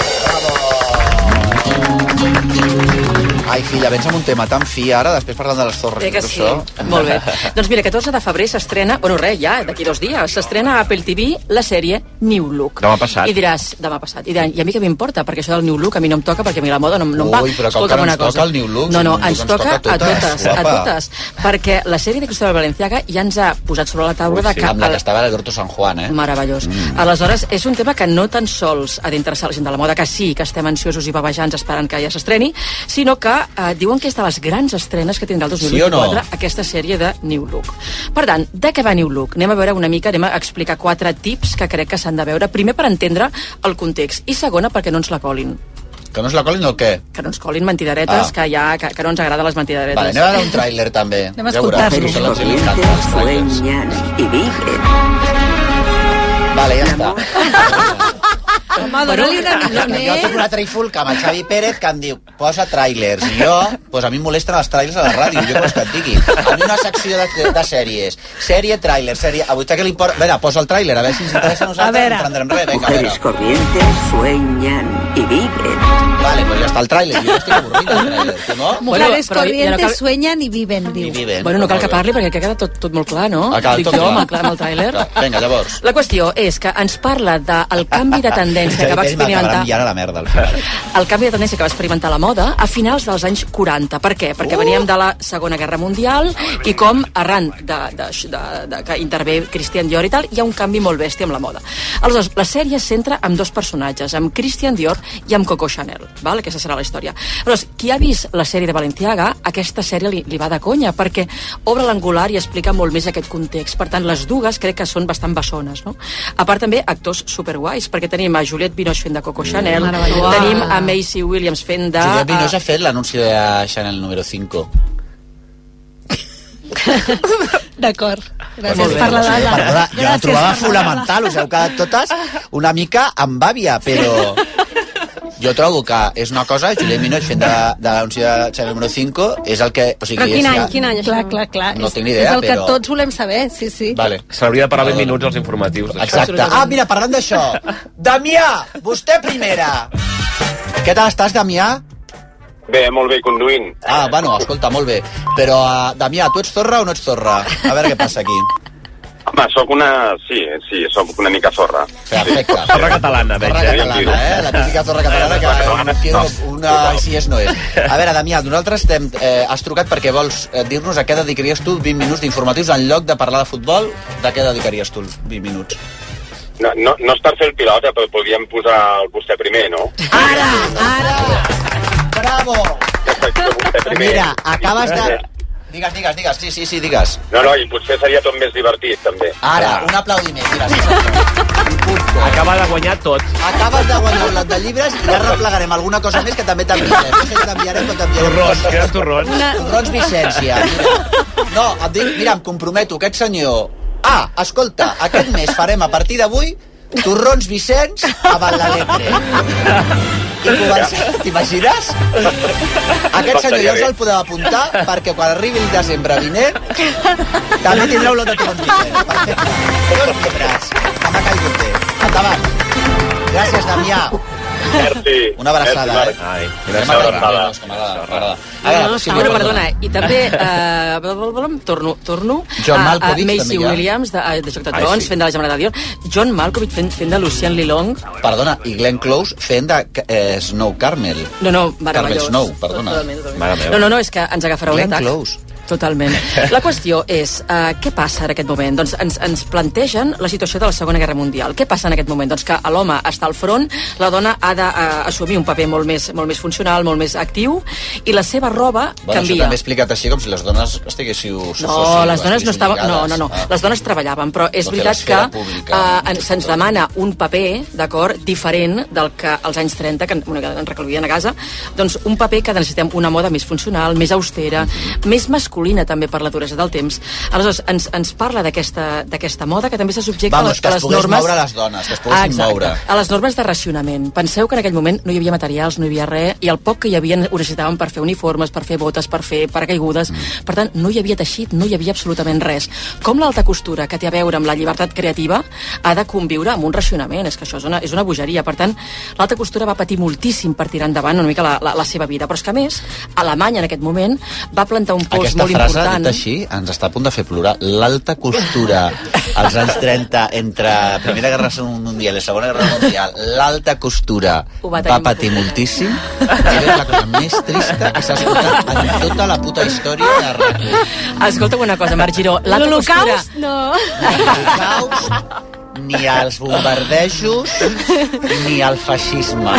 Ai, filla, vens amb un tema tan fi ara, després parlant de les torres. Eh que i tot sí? Molt bé. Doncs mira, 14 de febrer s'estrena, bueno, res, ja, d'aquí dos dies, s'estrena a Apple TV la sèrie New Look. Demà passat. I diràs, demà passat. I, diràs, I a mi què m'importa? Perquè això del New Look a mi no em toca, perquè a mi la moda no, no em va. Ui, però com Escolta'm que ara una ens toca el New Look, No, si no, el New Look ens ens toca toca, a a totes, a totes, guapa. totes. Perquè la sèrie de Cristóbal Valenciaga ja ens ha posat sobre la taula de sí, que... amb la el- que estava l'Alberto San Juan, eh? Meravellós. Mm. Aleshores, és un tema que no tan sols ha d'interessar la gent de la moda, que sí, que estem ansiosos i babejants esperant que ja s'estreni, sinó que eh, diuen que és de les grans estrenes que tindrà el Sí o 2024 no? aquesta sèrie de New Look. Per tant, de què va New Look? Anem a veure una mica, anem a explicar quatre tips que crec que s'han de veure, primer per entendre el context i segona perquè no ens la colin. Que no es la colin o què? Que no ens colin mentidaretes, Ah. ah. que, ja, que, que no ens agraden les mentidaretes. Vale, anem a veure un tràiler també. Anem a Ja veuràs, escoltar-lo. que a la gent li encanten els trailers. Vale, ja està. Home, dona-li una mica Jo, jo tinc més. una trifulca amb el Xavi Pérez que em diu, posa trailers. I jo, doncs a mi em molesten els trailers a la ràdio, jo que vols que et digui. A mi una secció de, de sèries. Sèrie, tràiler, sèrie... A vostè què li importa? Vinga, posa el tràiler, a veure si ens interessa a nosaltres. A veure. No prendrem res, vinga, a veure. corrientes sueñan y viven. Vale, pues ya está el tràiler. Jo ja estic avorrida del tràiler, tu no? Mujeres però ja no corrientes cal- sueñan y viven, diu. viven. Bueno, no cal Molt que bé. parli perquè queda tot, tot molt clar, no? Ah, clar, Dic tot jo clar. amb el, amb el tràiler. Vinga, llavors. Ah, La qüestió és que ens parla del canvi de tendència que va Xavi Pérez m'acabarà experimentar enviant a la merda, al final. el canvi de tendència que va experimentar la moda a finals dels anys 40. Per què? Uh! Perquè veníem de la Segona Guerra Mundial i com arran de, de, de, de que intervé Christian Dior i tal, hi ha un canvi molt bèstia amb la moda. Aleshores, la sèrie es centra en dos personatges, amb Christian Dior i amb Coco Chanel. Val? Aquesta serà la història. Aleshores, qui ha vist la sèrie de Balenciaga, aquesta sèrie li, li va de conya, perquè obre l'angular i explica molt més aquest context. Per tant, les dues crec que són bastant bessones, no? A part també actors superguais, perquè tenim a Juliette Binoche fent de Coco Chanel, meravellós. tenim a Macy Williams fent de... Juliette Binoche ha fet l'anunci de Chanel número 5. Ah. D'acord. Molt Gràcies bé. per la dada. Perdona, jo la Gràcies trobava per la dada. fonamental, us heu quedat totes una mica amb àvia, però... Jo trobo que és una cosa, Julián Minoch fent de, de l'anunci de Chanel número 5, és el que... O sigui, Però quin és any, ja- quin any? Clar, clar, clar. No és, tinc ni idea, és el però- que tots volem saber, sí, sí. Vale. S'hauria de parar 20 minuts als informatius. d'això. Exacte. Ah, mira, parlant d'això. Damià, vostè primera. Què tal estàs, Damià? Bé, molt bé, conduint. Ah, bueno, escolta, molt bé. Però, uh, Damià, tu ets zorra o no ets zorra? A veure què passa aquí. Home, sóc una... Sí, sí, sóc una mica zorra. Perfecte. Zorra catalana, veig. Zorra catalana, eh? La típica zorra catalana que quiero una... Si és, no és. A veure, Damià, nosaltres estem, eh, has trucat perquè vols eh, dir-nos a què dedicaries tu 20 minuts d'informatius en lloc de parlar de futbol. De què dedicaries tu els 20 minuts? No, no, no és per fer el pilota, però podríem posar el vostè primer, no? Bravo! Vostè primer. Mira, acabes de... Digues, digues, digues. Sí, sí, sí, digues. No, no, i potser seria tot més divertit, també. Ara, un aplaudiment, mira, sí, Ah, Acaba de guanyar tot. Acabes de guanyar un lot de llibres i ja replegarem alguna cosa més que també t'enviarem. No sé si t'enviarem o t'enviarem. Torrons, queden torrons. Una... Torrons Vicència. Mira. No, et dic, mira, em comprometo, aquest senyor... Ah, escolta, aquest mes farem a partir d'avui Torrons Vicenç a Vallalebre. I comencem, t'imagines? Aquest senyor ja us el podeu apuntar perquè quan arribi el desembre vinent també tindreu l'olor de Torrons Vicenç. Perfecte. Dos llibres. Que m'ha caigut bé. Endavant. Gràcies, Damià. Merci. Una abraçada, Merci, eh? Marc. Ai, Que una m'ha caigut bé, abraçada. veus, que m'agrada, m'agrada. No, Ara, no, no, sí, Paula, perdona. perdona. I també, eh, bla, bla, bla, bla, torno, torno John a, a Malkovich, també Macy hi ha. Williams, de, eh, de Joc de Ai, Trons, sí. fent de la Gemma Dion, John Malkovich fent, fent de Lucien Lilong. Perdona, i Glenn Close fent de eh, Snow Carmel. No, no, Carmel meravellós. Snow, perdona. Totalment, No, no, no, és que ens agafarà un Glenn atac. Close. Totalment. La qüestió és, eh, què passa en aquest moment? Doncs ens, ens plantegen la situació de la Segona Guerra Mundial. Què passa en aquest moment? Doncs que l'home està al front, la dona ha d'assumir un paper molt més, molt més funcional, molt més actiu, i la seva roba Bueno, això canvia. també explicat així, com si les dones estiguéssiu... No, les dones no estaven... No, no, no. Les dones treballaven, però és No té veritat que l'esfera ah. pública, eh, en- se'ns demana un paper, d'acord, diferent del que als anys 30, que, en- bueno, que ens recluïen a casa, doncs un paper que necessitem una moda més funcional, més austera, Mm-hmm. més masculina també per la duresa del temps. Aleshores, ens, ens parla d'aquesta d'aquesta moda que també se subjecta Vamos, que a es les pogués normes... moure les dones, que es poguessin Ah, Exacte. moure. A les normes de racionament. Penseu que en aquell moment no hi havia materials, no hi havia res, i el poc que hi havia ho necessitàvem per fer uniformes, per fer botes, per fer paracaigudes. Mm. Per tant, no hi havia teixit, no hi havia absolutament res. Com l'alta costura, que té a veure amb la llibertat creativa, ha de conviure amb un racionament? És que això és una, és una bogeria. Per tant, l'alta costura va patir moltíssim per tirar endavant una mica la, la, la seva vida. Però és que, a més, Alemanya en aquest moment va plantar un pols Aquesta molt frase, important. dit així, ens està a punt de fer plorar. L'alta costura als anys 30 entre Primera Guerra Mundial i Segona Guerra Mundial, l'alta costura Ho va, va tenir patir moltíssim. És la cosa més trista que s'ha escoltat en tota la puta història de RAC1. Escolta'm una cosa, Marc Giró. L'alta costura... L'Holocaust, no. ni als bombardejos ni al feixisme.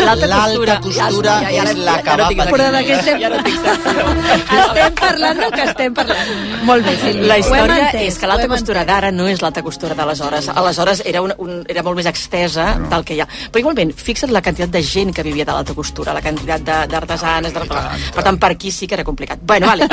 l'alta costura- costura ja- ja- ja- és la ja- ja que no va tinc- patir. Però de què estem, estem parlant del que estem parlant. Molt bé, Sílvia. La Ho hem història entès, és que ho l'alta hem costura d'ara no és l'alta costura d'aleshores. Aleshores era, un, un, era molt més extesa no. del que hi ha. Però igualment, fixa't la quantitat de gent que vivia de l'alta costura, la quantitat de- Ah, d'artesanes... de- Per tant, per aquí sí que era complicat. Bueno, vale,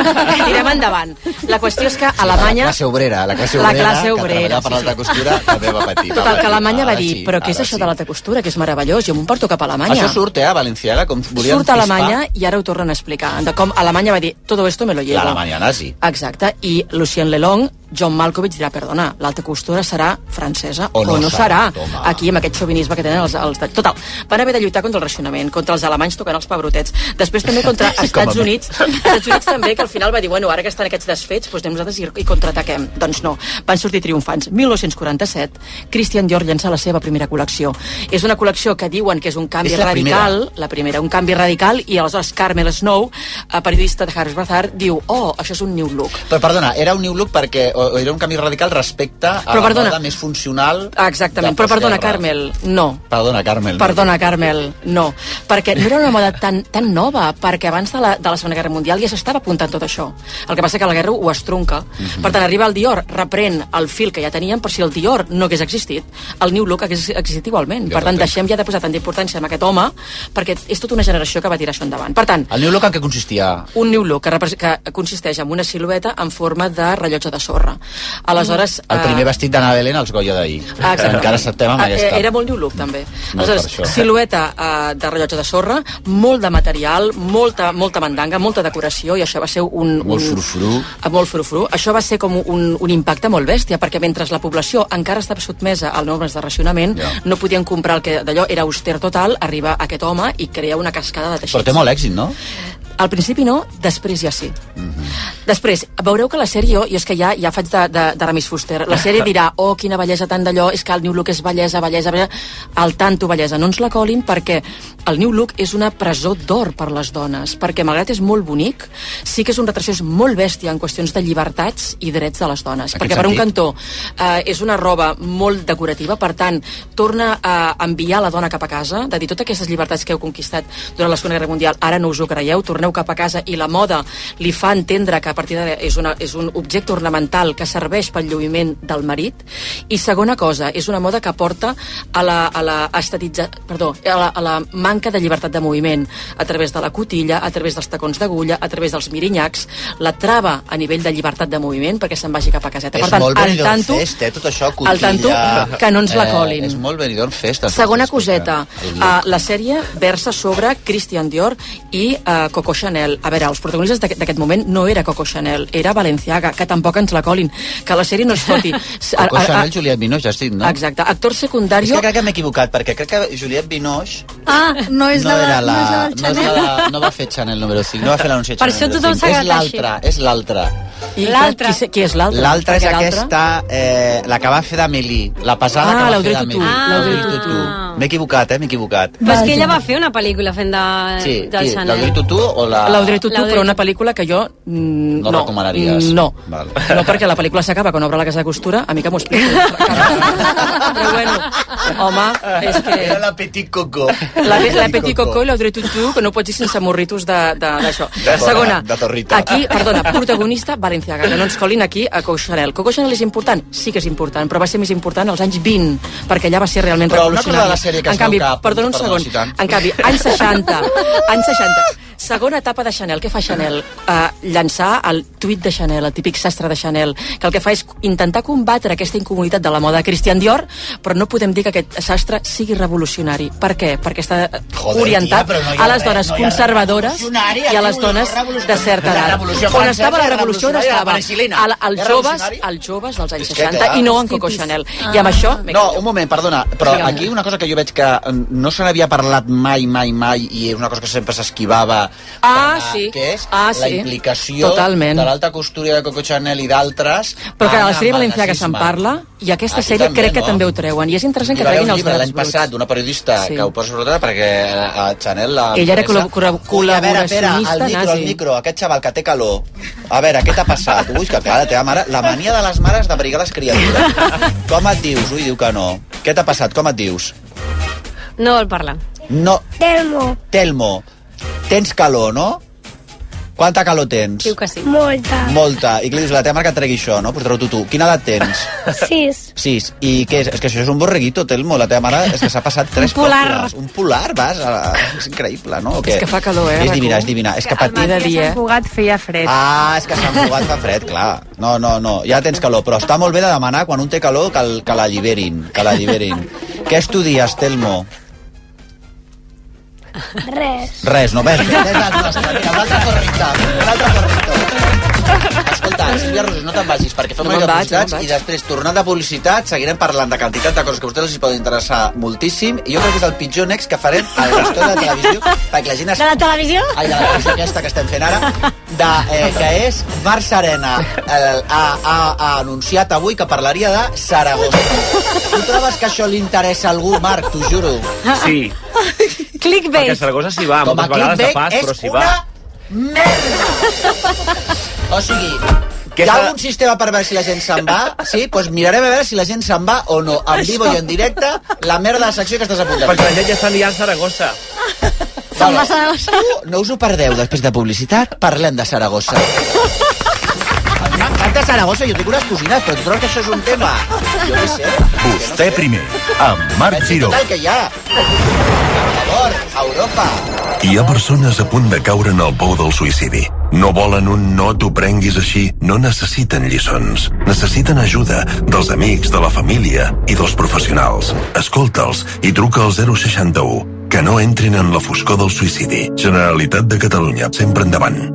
tirem endavant. La qüestió és que a La Alemanya... classe obrera, la classe La obrera, classe que obrera, treballava per sí, l'alta sí. costura també va patir. va Total, que patir. Alemanya va Ara dir, sí, però què és ara això sí. de l'alta costura, que és meravellós, jo m'ho porto cap a Alemanya. Això surt, eh, a Valenciaga, com volien surt a Alemanya i ara ho tornen a explicar, de com Alemanya va dir todo esto me lo llevo. L'Alemanya nazi. Exacte, i Lucien Lelong, John Malkovich dirà, perdona, l'alta costura serà francesa o no, o no serà, serà. aquí amb aquest xovinisme que tenen els, els... de- Total, van haver de lluitar contra el racionament, contra els alemanys tocant els pebrotets, després també contra Sí, els com a Estats mi. Units, Estats Units també, que al final va dir, bueno, ara que estan aquests desfets, doncs anem nosaltres i, i contraataquem. Doncs no, van sortir triomfants. 1947, Christian Dior llança la seva primera col·lecció. És una col·lecció que diuen que és un canvi És la radical, la primera, un canvi radical, i aleshores Carmel Snow, eh, periodista de Harris Bazaar, diu, oh, això és un new look. Però perdona, era un new look perquè o, o era un canvi radical respecte a Però la perdona. Ah, moda més funcional... Exactament, de però perdona, postguerra. Carmel, no. Perdona, Carmel. Perdona, Carmel, no. Perquè no era una moda tan, tan nova, perquè abans de la, de la Segona Guerra Mundial ja s'estava apuntant tot això. El que passa que la guerra ho estronca. Mhm. Per tant, arriba el Dior, reprèn el fil que ja teníem, però si el Dior no hagués existit, el New Look hagués existit igualment. per tant, deixem ja de posar tanta importància en aquest home, perquè és tota una generació que va tirar això endavant. Per tant, El new look en què consistia? un new look que, repres- que consisteix en una silueta en forma de rellotge de sorra. Andorra. Aleshores... eh, El primer vestit d'Anna Belén als Goya d'ahir. Ah, exactament. Encara acceptem amb Ah, aquesta. eh, Era molt New Look, també. No, per Aleshores, això. silueta eh, de rellotge de sorra, molt de material, molta, molta mandanga, molta decoració, i això va ser un... Molt un, frufru. eh, molt frufru. Això va ser com un, un impacte molt bèstia, perquè mentre la població encara estava sotmesa a normes de racionament, Ja. no podien comprar el que d'allò era auster total, arriba aquest home i crea una cascada de teixits. Però té molt èxit, no? Mhm. Al principi no, després ja sí. Després, veureu que la sèrie, jo, jo és que ja ja faig de, de, de Ramis Fuster, la sèrie dirà, oh, quina bellesa tant d'allò, és que el New Look és bellesa, bellesa, bellesa, el tanto bellesa. No ens la colin perquè el New Look és una presó d'or per les dones, perquè malgrat és molt bonic, sí que és un retrocés molt bèstia en qüestions de llibertats i drets de les dones. En perquè quin per un sentit? cantó eh, és una roba molt decorativa, per tant, torna a enviar la dona cap a casa, de dir, totes aquestes llibertats que heu conquistat durant la Segona Guerra Mundial, ara no us ho creieu, torneu cap a casa i la moda li fa entendre que a partir d'ara és, una, és un objecte ornamental que serveix pel lluïment del marit. I segona cosa, és una moda que porta a la, a la, estetitza, perdó, a la, a la manca de llibertat de moviment a través de la cotilla, a través dels tacons d'agulla, a través dels mirinyacs, la trava a nivell de llibertat de moviment perquè se'n vagi cap a caseta. és per tant, molt el Benidorm tanto, Fest, eh, tot això, el tanto, que no ens la colin. Eh, és molt Benidorm Fest. el Segona tanto. coseta. Uh, la sèrie versa sobre Christian Dior i uh, Coco Chanel. A veure, els protagonistes d'aquest d'aquest moment no era Coco Chanel, era Balenciaga, que tampoc ens la colin. Que la sèrie no es foti. Coco Chanel, Juliette Binoche, has dit, no? Exacte. Actor És secundari... que crec que m'he equivocat, perquè crec que Juliette Binoche Ah, no és no la, era de, no és la la... del No, és Chanel. la de- no va fer Chanel número 5, no va fer l'anunci de Per Chanel això número tothom 5. s'ha És quedat així. l'altra, és l'altra. I L'altra. Qui, qui és l'altra? L'altra és Perquè aquesta, eh, la que va fer d'Amélie, la passada Ah, que va fer l'Audrey d'Amélie. Tautou. L'Audrey M'he equivocat, eh? M'he equivocat. Però és que ella va fer una pel·lícula fent de, Sí, del qui? Chanel. l'Audrey Tutu o la... L'Audrey Tutu, però una pel·lícula que jo... mm, Ah. No no recomanaries. No. Val. No, perquè la pel·lícula s'acaba quan obre la casa de costura, a mi que m'ho explico. però bueno, home, és que... Era la Petit Coco. La, la Petit Coco i l'Audrey Tutu, que no pots dir sense morritos de- de- d'això. De- Segona, de torrita. aquí, perdona, protagonista Valenciaga, que no ens colin aquí a Coco Chanel. Coco Chanel és important? Sí que és important, però va ser més important als anys 20, perquè allà va ser realment Però una cosa de revolucionària. la sèrie que en es veu canvi, que apunta- perdona un perdona, segon, si tant. en canvi, anys 60, anys 60, segona etapa de Chanel, què fa Chanel? Uh, llançar el tuit de Chanel, el típic sastre de Chanel, que el que fa és intentar combatre aquesta incomoditat de la moda de Christian Dior, però no podem dir que aquest sastre sigui revolucionari. Per què? Perquè està Joder, orientat tia, però no hi ha a les res, dones no hi ha res conservadores revolucionari, i a les diu, dones de certa La edat. revolució On francesa estava la és revolució on revolucionària, la estava? penicil·lina. Al- Als És joves, revolucionari? als joves dels anys És que Ah. 60 clar. i no en Coco Chanel. I amb això... m'he No, un moment, perdona, però Digue'm. aquí una cosa que jo veig que mm, no se n'havia parlat mai, mai, mai, i és una cosa que sempre s'esquivava, Ah, sí. que és ah, la sí. implicació Totalment. de l'alta costúria de Coco Chanel i d'altres... Però que en a la el sèrie valencià que se'n nazisme. parla, i aquesta Ah, Aquí sèrie també, crec que no? també ho treuen, i és Hi interessant que va haver treguin un els llibre drets l'any passat bruts. d'una periodista Sí. que ho posa sobre la taula perquè eh, a Chanel... La Ella era empresa- col·labora- Ui, a veure, a veure, col·laboracionista el micro, nazi. el micro, aquest xaval que té calor. A veure, què t'ha passat? Ui, que clar, la teva mare... La mania de les mares d'abrigar les criatures. Com et dius? Ui, diu que no. Què t'ha passat? Com et dius? No vol parlar. No, Telmo. Telmo, tens calor, no? Quanta calor tens? Diu que sí. Molta. Molta. I que li dius a la teva mare que et tregui això, no? Pues treu-t'ho tu. Quina edat tens? Sis. Sis. I què és? És que això és un borreguito, Telmo. La teva mare és que s'ha passat tres Un polar. pòcules. Un polar, vas. A... la- És increïble, no? O què? És que fa calor, eh, És divina, Racó? és divina. És que Al matí patir a Sant Cugat feia fred. Ah, és que Sant Cugat fa fred, clar. No, no, no, ja tens calor, però està molt bé de demanar quan un té calor que, el, que l'alliberin, que l'alliberin. Què estudies, Telmo? Res. Res, no ves. Ves al nostre. Mira, un altre correcte. Un altre correcte. Escolta, Sílvia Rosos, no te'n vagis, perquè fem No una mica me'n de vaig, no me'n publicitats i després, tornant de publicitat, seguirem parlant de quantitat de coses que a vostès els hi poden interessar moltíssim i jo crec que és el pitjor next que farem a l'estona de la televisió perquè la gent... Es... De la televisió? Ai, de la televisió aquesta que estem fent ara, de, eh, que és Barça Arena. El, ha, ha, ha anunciat avui que parlaria de Saragossa. Tu trobes que això li interessa a algú, Marc? T'ho juro. Sí, Ah, Clickbait. perquè a Saragossa s'hi va, Com a moltes vegades de clickbait pas, és però s'hi una va. O sigui, hi Què ha s'ha- algun sistema per veure si la gent se'n va? Sí? Doncs pues mirarem a veure si la gent se'n va o no. En vivo i en directe, la merda de secció que estàs apuntant. Perquè la gent ja està liant Saragossa. Se'n va Saragossa. No us ho perdeu, després de publicitat parlem de Saragossa. A mi M'encanta Saragossa, jo tinc unes cosines, però tu trobes que això és un tema. Jo què sé. Vostè primer, amb Marc Giró. Total, que ja. Por favor, a Europa. Hi ha persones a punt de caure en el pou del suïcidi. No volen un no t'ho prenguis així, no necessiten lliçons. Necessiten ajuda dels amics, de la família i dels professionals. Escolta'ls i truca al 061. Que no entrin en la foscor del suïcidi. Generalitat de Catalunya, sempre endavant.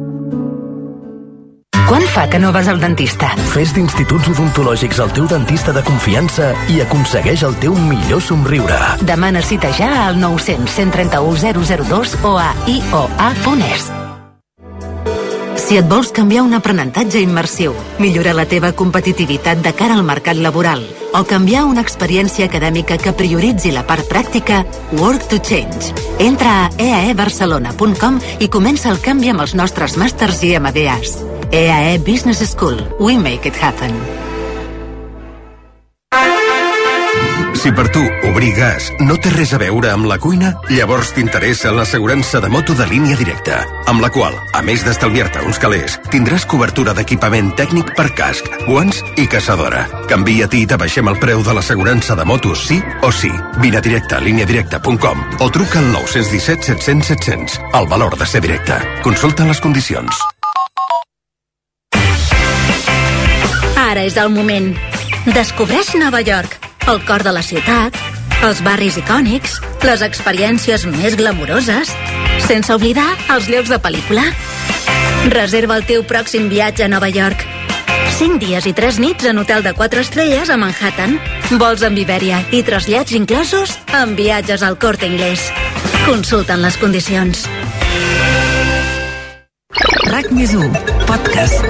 Quan fa que no vas al dentista? Fes d'Instituts Odontològics el teu dentista de confiança i aconsegueix el teu millor somriure. Demana cita ja al 900 131 002 o a ioa.es. Si et vols canviar un aprenentatge immersiu, millorar la teva competitivitat de cara al mercat laboral o canviar una experiència acadèmica que prioritzi la part pràctica, Work to Change. Entra a e eaebarcelona.com i comença el canvi amb els nostres màsters i MBAs. EAE E Business School. We make it happen. Si per tu obrir gas no té res a veure amb la cuina, llavors t'interessa l'assegurança de moto de línia directa, amb la qual, a més d'estalviar-te uns calés, tindràs cobertura d'equipament tècnic per casc, guants i caçadora. Canvia-t'hi i t'abaixem el preu de l'assegurança de moto sí o sí. Vine a directe a líniadirecta.com o truca al 917 700 700. El valor de ser directe. Consulta les condicions. Ara és el moment. Descobreix Nova York, el cor de la ciutat, els barris icònics, les experiències més glamuroses, sense oblidar els llocs de pel·lícula. Reserva el teu pròxim viatge a Nova York. 5 dies i 3 nits en hotel de 4 estrelles a Manhattan. Vols amb Iberia i trasllats inclosos amb viatges al Corte Inglés. Consulta'n les condicions. RAC més 1, podcast.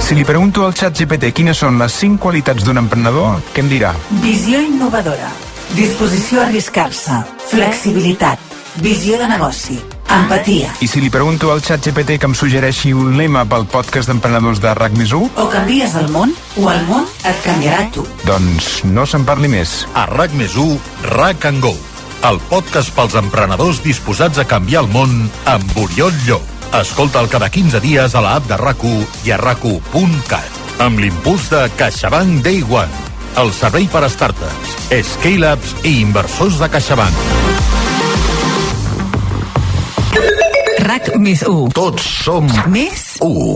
Si li pregunto al xat GPT quines són les 5 qualitats d'un emprenedor, què em dirà? Visió innovadora. Disposició a arriscar-se. Flexibilitat. Visió de negoci. Empatia. I si li pregunto al xat GPT que em suggereixi un lema pel podcast d'emprenedors de RAC més 1, Oh. O canvies el món, o el món et canviarà a tu. doncs no se'n parli més. A RAC més 1, RAC and Go. El podcast pels emprenedors disposats a canviar el món amb Oriol Llop. Escolta'l cada 15 dies a la app de rac i a rac Amb l'impuls de CaixaBank Day One, el servei per a startups, scale-ups i inversors de CaixaBank. RAC més 1. Tots som més 1.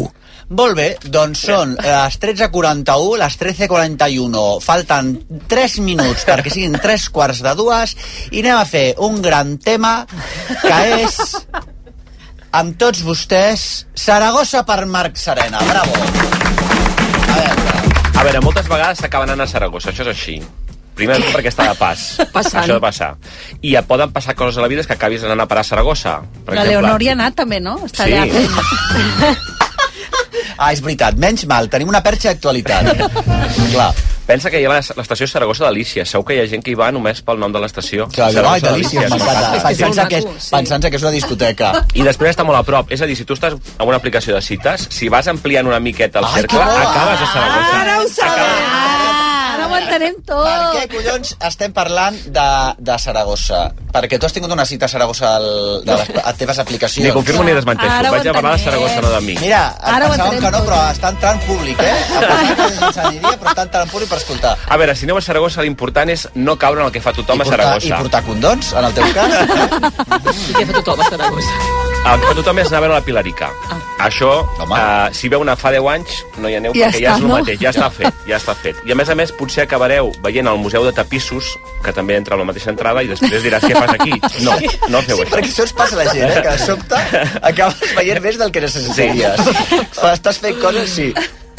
Molt bé, doncs són les 13.41, les 13.41, falten 3 minuts perquè siguin 3 quarts de dues i anem a fer un gran tema que és amb tots vostès Saragossa per Marc Serena, bravo A veure, moltes vegades s'acaben anant a Saragossa, això és així. Primer perquè està de pas. Passant. Això de passar. I et poden passar coses a la vida és que acabis anant a parar a Saragossa. Per La Leonor hi ha anat també, no? Està Sí. allà. ah, és veritat, menys mal, tenim una perxa d'actualitat clar. Pensa que hi ha la- l'estació Saragossa d'Alícia. Segur que hi ha gent que hi va només pel nom de l'estació. Clar, diu, ai, Saragossa delícia, m'encanta. Sí, sí, sí. Pensant-se que, és, pensant que és una discoteca. I després està molt a prop. És a dir, si tu estàs amb una aplicació de cites, si vas ampliant una miqueta el cercle, acabes a Saragossa. Ah, Ara ho sabem! Ara ho entenem tot. Per què, collons, estem parlant de, de Saragossa? Perquè tu has tingut una cita a Saragossa al, de les a teves aplicacions. Ni confirmo ni desmenteixo. Ara ho Vaig a parlar de entenem. Saragossa, no de mi. Mira, Ara Ara ho pensàvem que entenem no, tot. però està entrant públic, eh? Em pensava que ens aniria, però està entrant públic per escoltar. A veure, si aneu a Saragossa, l'important és no caure en el que fa tothom I portar- a Saragossa. i portar condons, en el teu cas. I què fa tothom a Saragossa? El que fa tothom és anar a veure la Pilarica. Ah. Això, eh, si veu una fa 10 anys, no hi aneu Ja perquè ja està, és el no? mateix, ja està fet, ja està fet. I a més a més, potser acabareu veient el Museu de Tapissos, que també entra a la mateixa entrada, i després diràs què fas aquí. No, no feu Sí, això. perquè això ens passa a la gent, eh? Que de sobte acabes veient més del que necessitaries. Sí. Estàs fent coses, sí.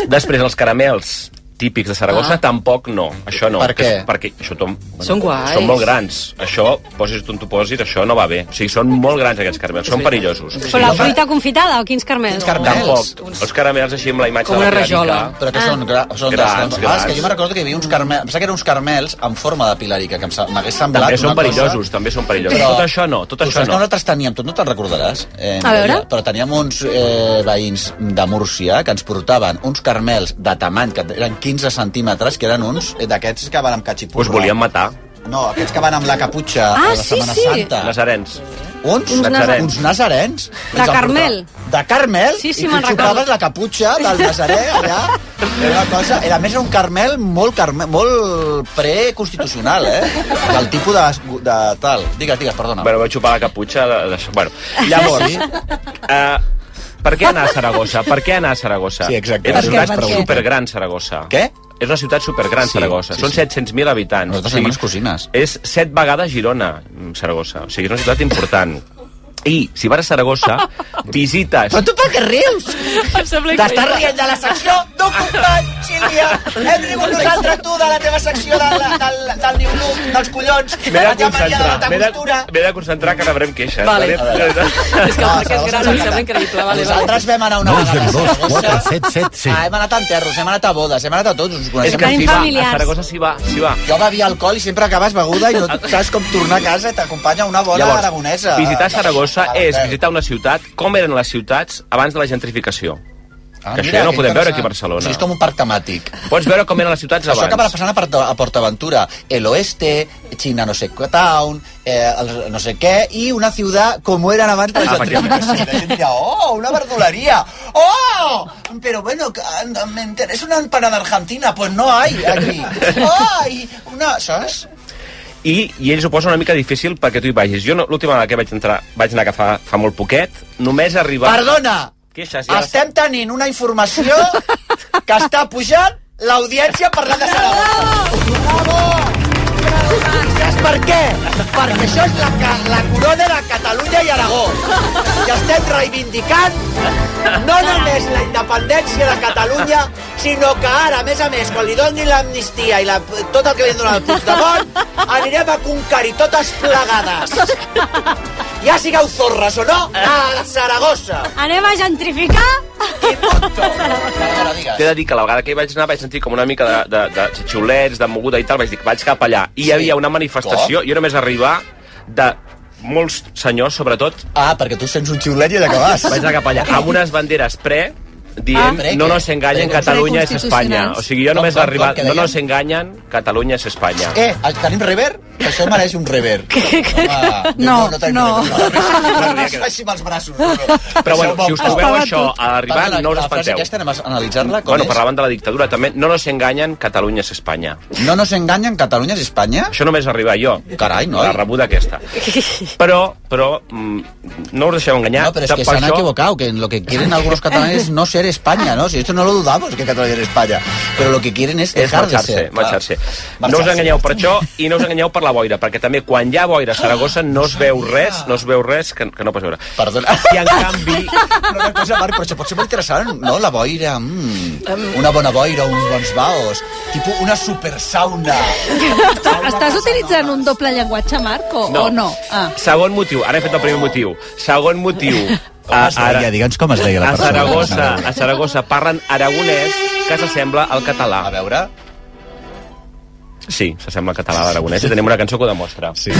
Després, els caramels típics de Saragossa, Ah. tampoc no. Això no. Per que és- què? Perquè això tom, Són guais. Són molt grans. Això, posis on t'ho posis, això no va bé. O sigui, són molt grans aquests caramels, són perillosos. O Però sigui, la fruita confitada, o quins carmels? Tampoc. Els caramels així amb la imatge de la Pilarica. Ah, Però que Ah. són, gra són grans, grans, grans. grans. que jo me recordo que hi havia uns carmels... Pensava que eren uns carmels en forma de pilarica, que em sa- m'hagués semblat També són una cosa- perillosos, també són perillosos. Però- Tot això no, tot Tu això saps que no. nosaltres teníem, tu no te'n recordaràs, eh, A veure. però teníem uns eh, veïns de Múrcia que ens portaven uns carmels de tamany, que eren 15 centímetres, que eren uns eh, d'aquests que van amb catxipurra. Us volien matar. No, aquests que van amb la caputxa Ah, a la sí, Setmana sí. Santa. Nazarens. Uns? Uns nazarens. Uns nazarens. De Carmel. De Carmel? Sí, sí, I me'n tu recordo. xupaves la caputxa del Nazaré allà? Era una cosa... Era, a més, era un Carmel molt, carme, molt preconstitucional, eh? Del tipus de, de tal. Digues, digues, perdona. Bueno, vaig xupar la caputxa. De, de... Bueno, llavors... Sí. Eh, per què anar a Saragossa? Per què anar a Saragossa? Sí, exacte. És una Per què, per ciutat què? supergran, Saragossa. Què? És una ciutat supergran, Sí, Saragossa. sí, Són sí. 700.000 habitants. Nosaltres som les cosines. És set vegades Girona, mm, Saragossa. O sigui, és una ciutat important. I, si vas a Saragossa, visites... Però tu per què rius? T'estàs rient de la secció d'un company, Sílvia. Hem rigut nosaltres, tu, de la teva secció de, la- del, del New Look, dels collons. M'he de La teva Maria de la concentrar, m'he de, Tangostura. m'he de concentrar que rebrem queixes. Vale. És que el Marc és gran, em sembla increïble. Vale, Nosaltres vam anar una vegada a 2, Saragossa. 4, 7, 7, sí. Ah, hem anat a enterros, hem anat a bodes, hem anat a tots. Ens És coneixem que s'hi va, a Saragossa s'hi va, s'hi va. Jo bevia alcohol i sempre acabes beguda i no saps com tornar a casa i t'acompanya una bona Llavors, aragonesa. visitar Saragossa Ah, és bé. visitar una ciutat, com eren les ciutats abans de la gentrificació. Ah, que això mira, ja no ho que podem veure interessant. aquí a O Barcelona. sigui, és com un parc temàtic. Pots veure com eren les ciutats Això acaba abans. passant a, Porta, a Portaventura. El Oeste, China no sé què town, eh, el no sé què, i una ciutat com eren abans Ah, de la gentrificació. La gent deia, oh, una verduleria. Oh, pero bueno, que, ah, me interesa una empanada argentina. Pues no hay aquí. Ay, una, saps? I, I ells ho posen una mica difícil perquè tu hi vagis. Jo no- l'última vegada que vaig entrar, vaig anar que fa, fa molt poquet, només arribar... Perdona, Queixes, ja estem tenint una informació que està pujant l'audiència parlant de Saragossa. Bravo! Bravo! Saps per què? Perquè això és la, ca la corona de Catalunya i Aragó. I estem reivindicant no només la independència de Catalunya, sinó que ara, a més a més, quan li donin l'amnistia i la, tot el que li han donat al Puigdemont, anirem a conquerir totes plegades. Ja sigueu zorres o no, a Saragossa. Anem a gentrificar? T'he de dir que la vegada que hi vaig anar vaig sentir com una mica de, de, de xiulets, de moguda i tal, vaig dir que vaig cap allà. I hi havia una manifestació, jo només arribar de molts senyors, sobretot... Ah, perquè tu sents un xiulet i allà que vas. Vaig anar cap allà, amb unes banderes pre, Ah. dient, Pre, no què? nos enganyen, Pre- Catalunya és Espanya. preconstitucionals. O sigui, jo Com, només com, com, arribar, què no deien? nos enganyen, Catalunya és Espanya. Eh, el- tenim rever? Que això mereix un rever. Home, no, no, tenim no. rever. No es faci amb els braços. Rubén. Però bueno, si us trobeu Estava això tot. a l'arribar, Parla, no us la frase espanteu. aquesta anem a analitzar-la, com Bueno, és? parlaven de la dictadura també. No nos enganyen, Catalunya és Espanya. No nos enganyen, Catalunya és Espanya? Això només arribar jo. Carai, noi. La rebuda aquesta. Però, però, mm, no us deixeu enganyar. No, pero es que se Tampoc han això- equivocado, que en lo que quieren algunos catalanes es no ser España, ¿no? Si esto no lo dudamos, que Cataluña es España. Pero lo que quieren es és dejar de marxar-se, ser. marxar-se. Marxar-se. No us enganyeu per això i no us enganyeu per la boira, perquè també quan hi ha boira a Saragossa no es veu res, no es veu res que, que no pots veure. Perdona. I en canvi... No, una cosa, Marc, però això pot ser molt interessant, no? La boira, mm, una bona boira, uns bons baos, tipus una supersauna. Estàs utilitzant un doble llenguatge, Marc, o No. o no? Ah. Segon motiu, ara he fet el primer motiu. Segon motiu... Com es deia? Digue'ns com es deia la a persona. Saragossa, a Saragossa parlen aragonès que s'assembla al català. A veure... Sí, s'assembla al català a l'aragonès i tenim una cançó que ho demostra. Sí.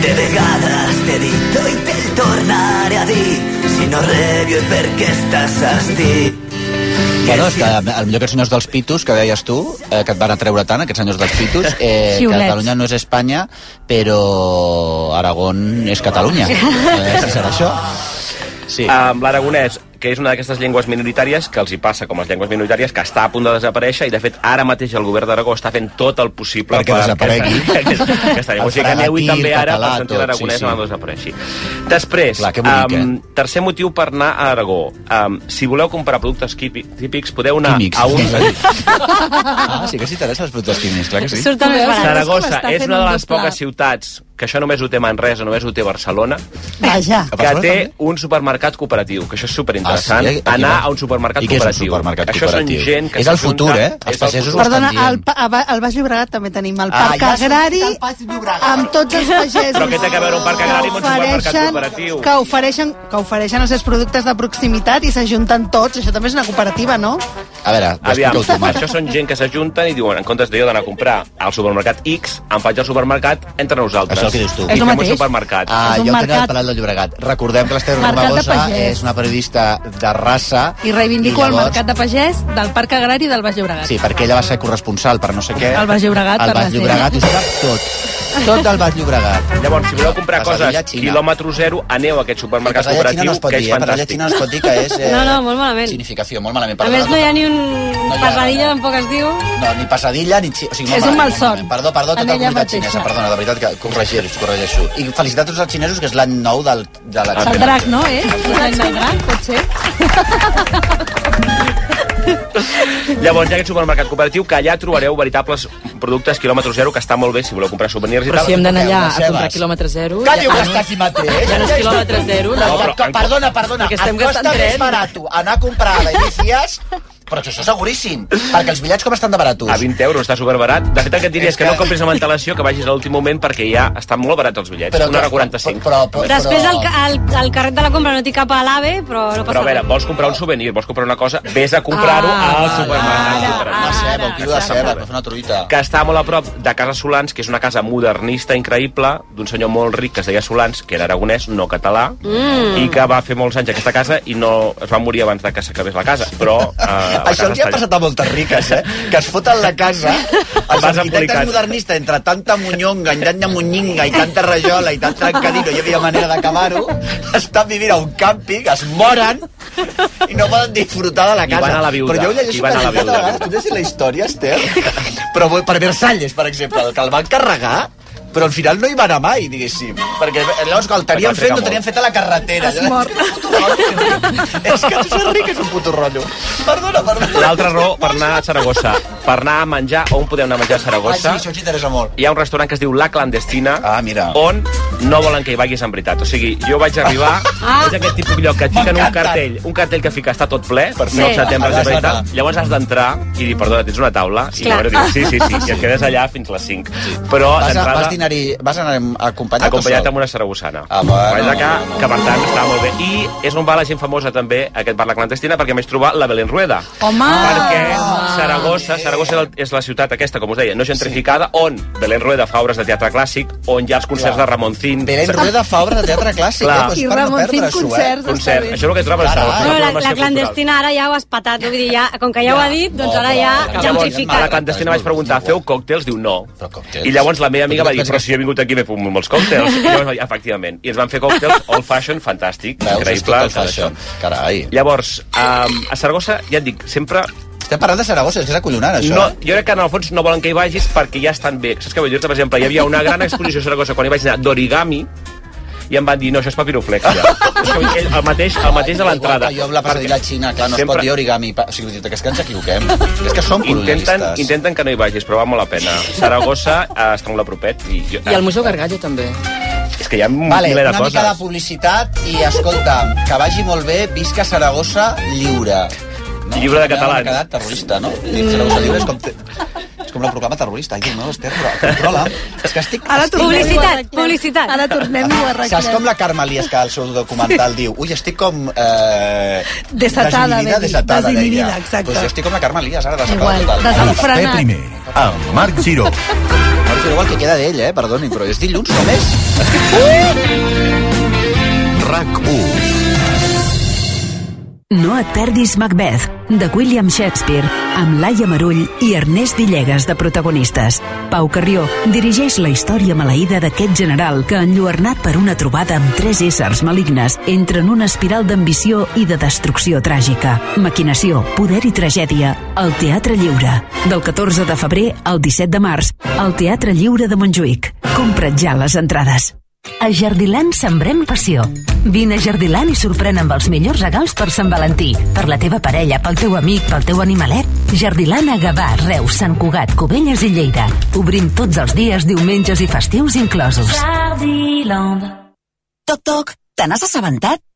De vegades t'he dit i te'l tornaré a dir si no rebio és perquè estàs estic. Bueno, és que el millor aquests senyors dels pitos que deies tu, eh, que et van atreure tant, aquests senyors dels pitos, eh, que Xiulets. Catalunya no és Espanya, però Aragón és Catalunya. Eh, si serà això. Sí. Amb l'aragonès, que és una d'aquestes llengües minoritàries que els hi passa com les llengües minoritàries, que està a punt de desaparèixer i, de fet, ara mateix el govern d'Aragó està fent tot el possible Perquè desaparegui. Aquesta, aquesta, aquesta llengua. El O sigui que aneu i fregatí, també el ara català, per sentir tot, l'aragonès sí, sí, sí. sí. desapareixi. Després, Clar, que bonic, em, tercer motiu per anar a Aragó. Um, si voleu comprar productes quipi- típics, podeu anar Químics. a un... Ah, sí que sí, t'interessa els productes químics, clar que sí. Surten més barats. Saragossa Està és fent una un de les doble. poques ciutats que això només ho té Manresa, només ho té Barcelona, Vaja. que té un supermercat cooperatiu, que això és superinteressant, Ah, sí? Aquí anar va. a un supermercat I què és un cooperatiu. supermercat això cooperatiu? són gent que És el s'ajunta- futur, eh? Els és el pagesos futur. Perdona, al, Pa- a, Ba- al Baix Llobregat també tenim el Ah, Parc ja ha sortit Agrari amb tots els pagesos Però què té a veure un parc agrari amb un supermercat cooperatiu? que ofereixen, que ofereixen els seus productes de proximitat i s'ajunten tots. Això també és una cooperativa, no? A veure, ho Aviam, explica-ho tu, Marc. això són gent que s'ajunten i diuen, en comptes de jo d'anar a comprar al supermercat X, em faig al supermercat entre nosaltres. Això el que dius tu. I fem un supermercat. Ah, jo tenia el Palau del Llobregat. Recordem que l'Ester Mercat de Romagosa pagès. és una periodista de raça. I reivindico I el llavors- mercat de pagès del Parc Agrari del Baix Llobregat. Sí, perquè ella va ser corresponsal per no sé què. Al Baix Llobregat, El per Baix la Llobregat ho sap tot. Tot del Baix Llobregat. Llavors, si voleu comprar Pasarella coses Xina. quilòmetre zero, aneu a aquest supermercat Pasarella Xina cooperatiu, no es pot que dir, és eh? Pasarella fantàstic. Xina no es pot dir que és, eh, No, no, molt malament. Significació, molt malament. A Perdó, més, no hi ha ni un hi ha- pesadilla, tampoc es diu. No, ni passadilla, ni... xi- O sigui, molt És un malament, malson. molt malament. Perdó, perdó, tota En la ella comunitat mateixa. xinesa, perdona, de veritat que corregeixo, corregeixo. I felicitats a tots els xinesos, que és l'any nou del, de Ah, la... El drac, no, eh? El drac, potser. Llavors, hi ha aquest supermercat cooperatiu que allà trobareu veritables productes quilòmetre zero, que està molt bé si voleu comprar souvenirs i Però tal. si hem d'anar allà Compreu a les comprar cebes. quilòmetre zero... Que diu ja- que està aquí mateix? Ja no és quilòmetre zero. No, llavors- però, perdona, perdona, Perquè et estem costa gastant més dret. barat anar a comprar a la Inicias, però això és seguríssim, perquè els bitllets com estan de baratos? A 20 euros està superbarat. De fet, el que et diria és que no compris amb antelació, que vagis a l'últim moment, perquè ja estan molt barats els bitllets. Però- 1,45 hora 45. Però, Després el, ca- el, el carret de la compra no té cap a l'AVE, però no Però passa a veure, vols comprar Ah. un souvenir, vols comprar una cosa, vés a comprar-ho al supermercat. Una ceba, un quilo de ceba, per fer una truita. que està molt a prop de Casa Solans, que és una casa modernista increïble, d'un senyor molt ric que es deia Solans, que era aragonès, no català, Mm. i que va fer molts anys a aquesta casa i no es va morir abans de que s'acabés la casa. Però eh, la Això casa el que està ha allà. passat a moltes riques, eh? Que es foten la casa, els Vas arquitectes embolicat. modernistes, entre tanta munyonga, i tanta munyinga, i tanta rajola, i tant trencadino, hi havia manera d'acabar-ho, estan vivint a un càmping, es moren, i no poden disfrutar de la I casa. van a la viuda, Però jo ho i llegeixo van a la per viuda. vegades, tu llegis la història, Esther? Però vull- per Versalles, per exemple, el que el van carregar, però al final no hi va anar mai, diguéssim. Perquè eh, llavors, quan el Perquè va tenien fet, ficar no tenien molt. fet a la carretera. Es mor. És que ser ric és un puto rotllo. Perdona, perdona. L'altra raó per anar a Saragossa, per anar a menjar, on podeu anar a menjar a Saragossa? Ah, sí, això ens interessa molt. Hi ha un restaurant que es diu La Clandestina, ah, mira. on no volen que hi vagis en veritat. O sigui, jo vaig arribar, ah. és aquest tipus de lloc que et fiquen un M'encanta. cartell, un cartell que fica està tot ple, Perfecte. no acceptem res de Allà has veritat. d'anar. Llavors has d'entrar i dir, perdona, tens una taula? I Clar. llavors dius, sí, sí, sí, i et quedes allà fins les 5. Però Vas, a, vas, d'entrada dinar-hi, vas anar acompanyat, acompanyat o sol? amb una saragossana. Ah, bueno. Vall de Ca, que per tant està molt bé. I és on va la gent famosa també, aquest bar La Clandestina, perquè a més trobar la Belén Rueda. Home! Perquè Ah. Saragossa, Saragossa era el- és la ciutat aquesta, com us deia, no gentrificada, on Belén Rueda fa obres de teatre clàssic, on hi ha els concerts de Ramoncín... Belén Rueda fa obres de teatre clàssic, eh? Doncs I per no Ramoncín perdre-s'ho, eh? concerts, Concert. està bé. Això és el que trobes. Clar, Clar, ara. Bueno, la, la clandestina ara ja ho has patat, vull dir, ja, com que ja ho ha dit, doncs ara ja Llavors, a la gentrificat. clandestina vaig preguntar, feu còctels? Diu, no. I llavors la meva amiga va dir, però si jo he vingut aquí m'he fumut molts còctels. I llavors va dir, efectivament. I ens van fer còctels old fashion, fantàstic, Veus, és tot increïble. el fashion. Carai. Llavors, um, a Saragossa, ja et dic, sempre... Estem parlant de Saragossa, és que és acollonant, això. eh? No, jo crec que en el fons no volen que hi vagis perquè ja estan bé. Saps què vull dir-te? Per exemple, hi havia una gran exposició a Saragossa quan hi vaig anar d'origami i em van dir, no, això és papiroflexia. el mateix, el mateix de l'entrada. Jo amb la passadilla xina, clar, no es pot Sempre- dir origami. pa- O sigui, que és que ens equivoquem. És que som Intenten, colonialistes. intenten que no hi vagis, però val molt la pena. Saragossa eh, està molt a propet. I, jo, I al Museu Gargallo també. És que hi ha un Vale, miler una de mica de coses. publicitat i, escolta, que vagi molt bé, visca Saragossa lliure. No, Lliure de ja m'ha catalans. quedat terrorista, no? Dir Saragossa lliure és com... Te... És com la proclama terrorista. Ai, Déu meu, Esther, però controla. És que estic... Ara estic- publicitat, publicitat. Ara tornem-ho a arreglar. Saps com la Carme Elias, que al seu documental diu ui, estic com... Eh, Desatada, desinhibida, va dir. desatada, Desinhibida, deia. exacte. Pues jo estic com la Carme Elias, ara, Igual, desatada total. desenfrenat. Vostè primer, amb Marc Giró. Marc Giró, el que queda d'ell, eh? Perdoni, però és dilluns només. RAC 1. No et perdis Macbeth, de William Shakespeare, amb Laia Marull i Ernest Villegas de protagonistes. Pau Carrió dirigeix la història maleïda d'aquest general que, enlluernat per una trobada amb tres éssers malignes, entra en una espiral d'ambició i de destrucció tràgica. Maquinació, poder i tragèdia, al Teatre Lliure. Del 14 de febrer al 17 de març, al Teatre Lliure de Montjuïc. Compra't ja les entrades. A Jardiland sembrem passió. Vine a Jardiland i sorprèn amb els millors regals per Sant Valentí, per la teva parella, pel teu amic, pel teu animalet. Jardiland a Gavà, Reus, Sant Cugat, Cubelles i Lleida. Obrim tots els dies, diumenges i festius inclosos. Jardiland. Toc, toc, te n'has assabentat?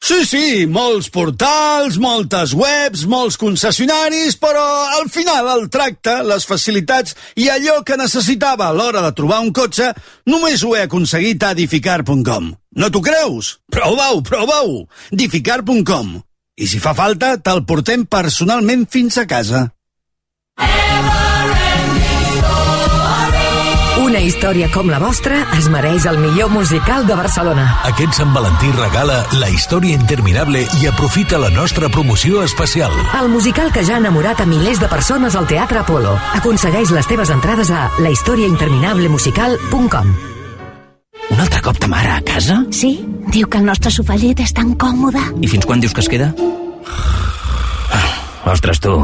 Sí, sí, molts portals, moltes webs, molts concessionaris, però al final el tracte, les facilitats i allò que necessitava a l'hora de trobar un cotxe només ho he aconseguit a edificar.com. No t'ho creus? Prova-ho, prova-ho! edificar.com I si fa falta, te'l portem personalment fins a casa. Una història com la vostra es mereix el millor musical de Barcelona. Aquest Sant Valentí regala La història interminable i aprofita la nostra promoció especial. El musical que ja ha enamorat a milers de persones al Teatre Apolo. Aconsegueix les teves entrades a lahistoriainterminablemusical.com Un altre cop ta mare a casa? Sí, diu que el nostre sofallet és tan còmode. I fins quan dius que es queda? Ah, ostres, tu,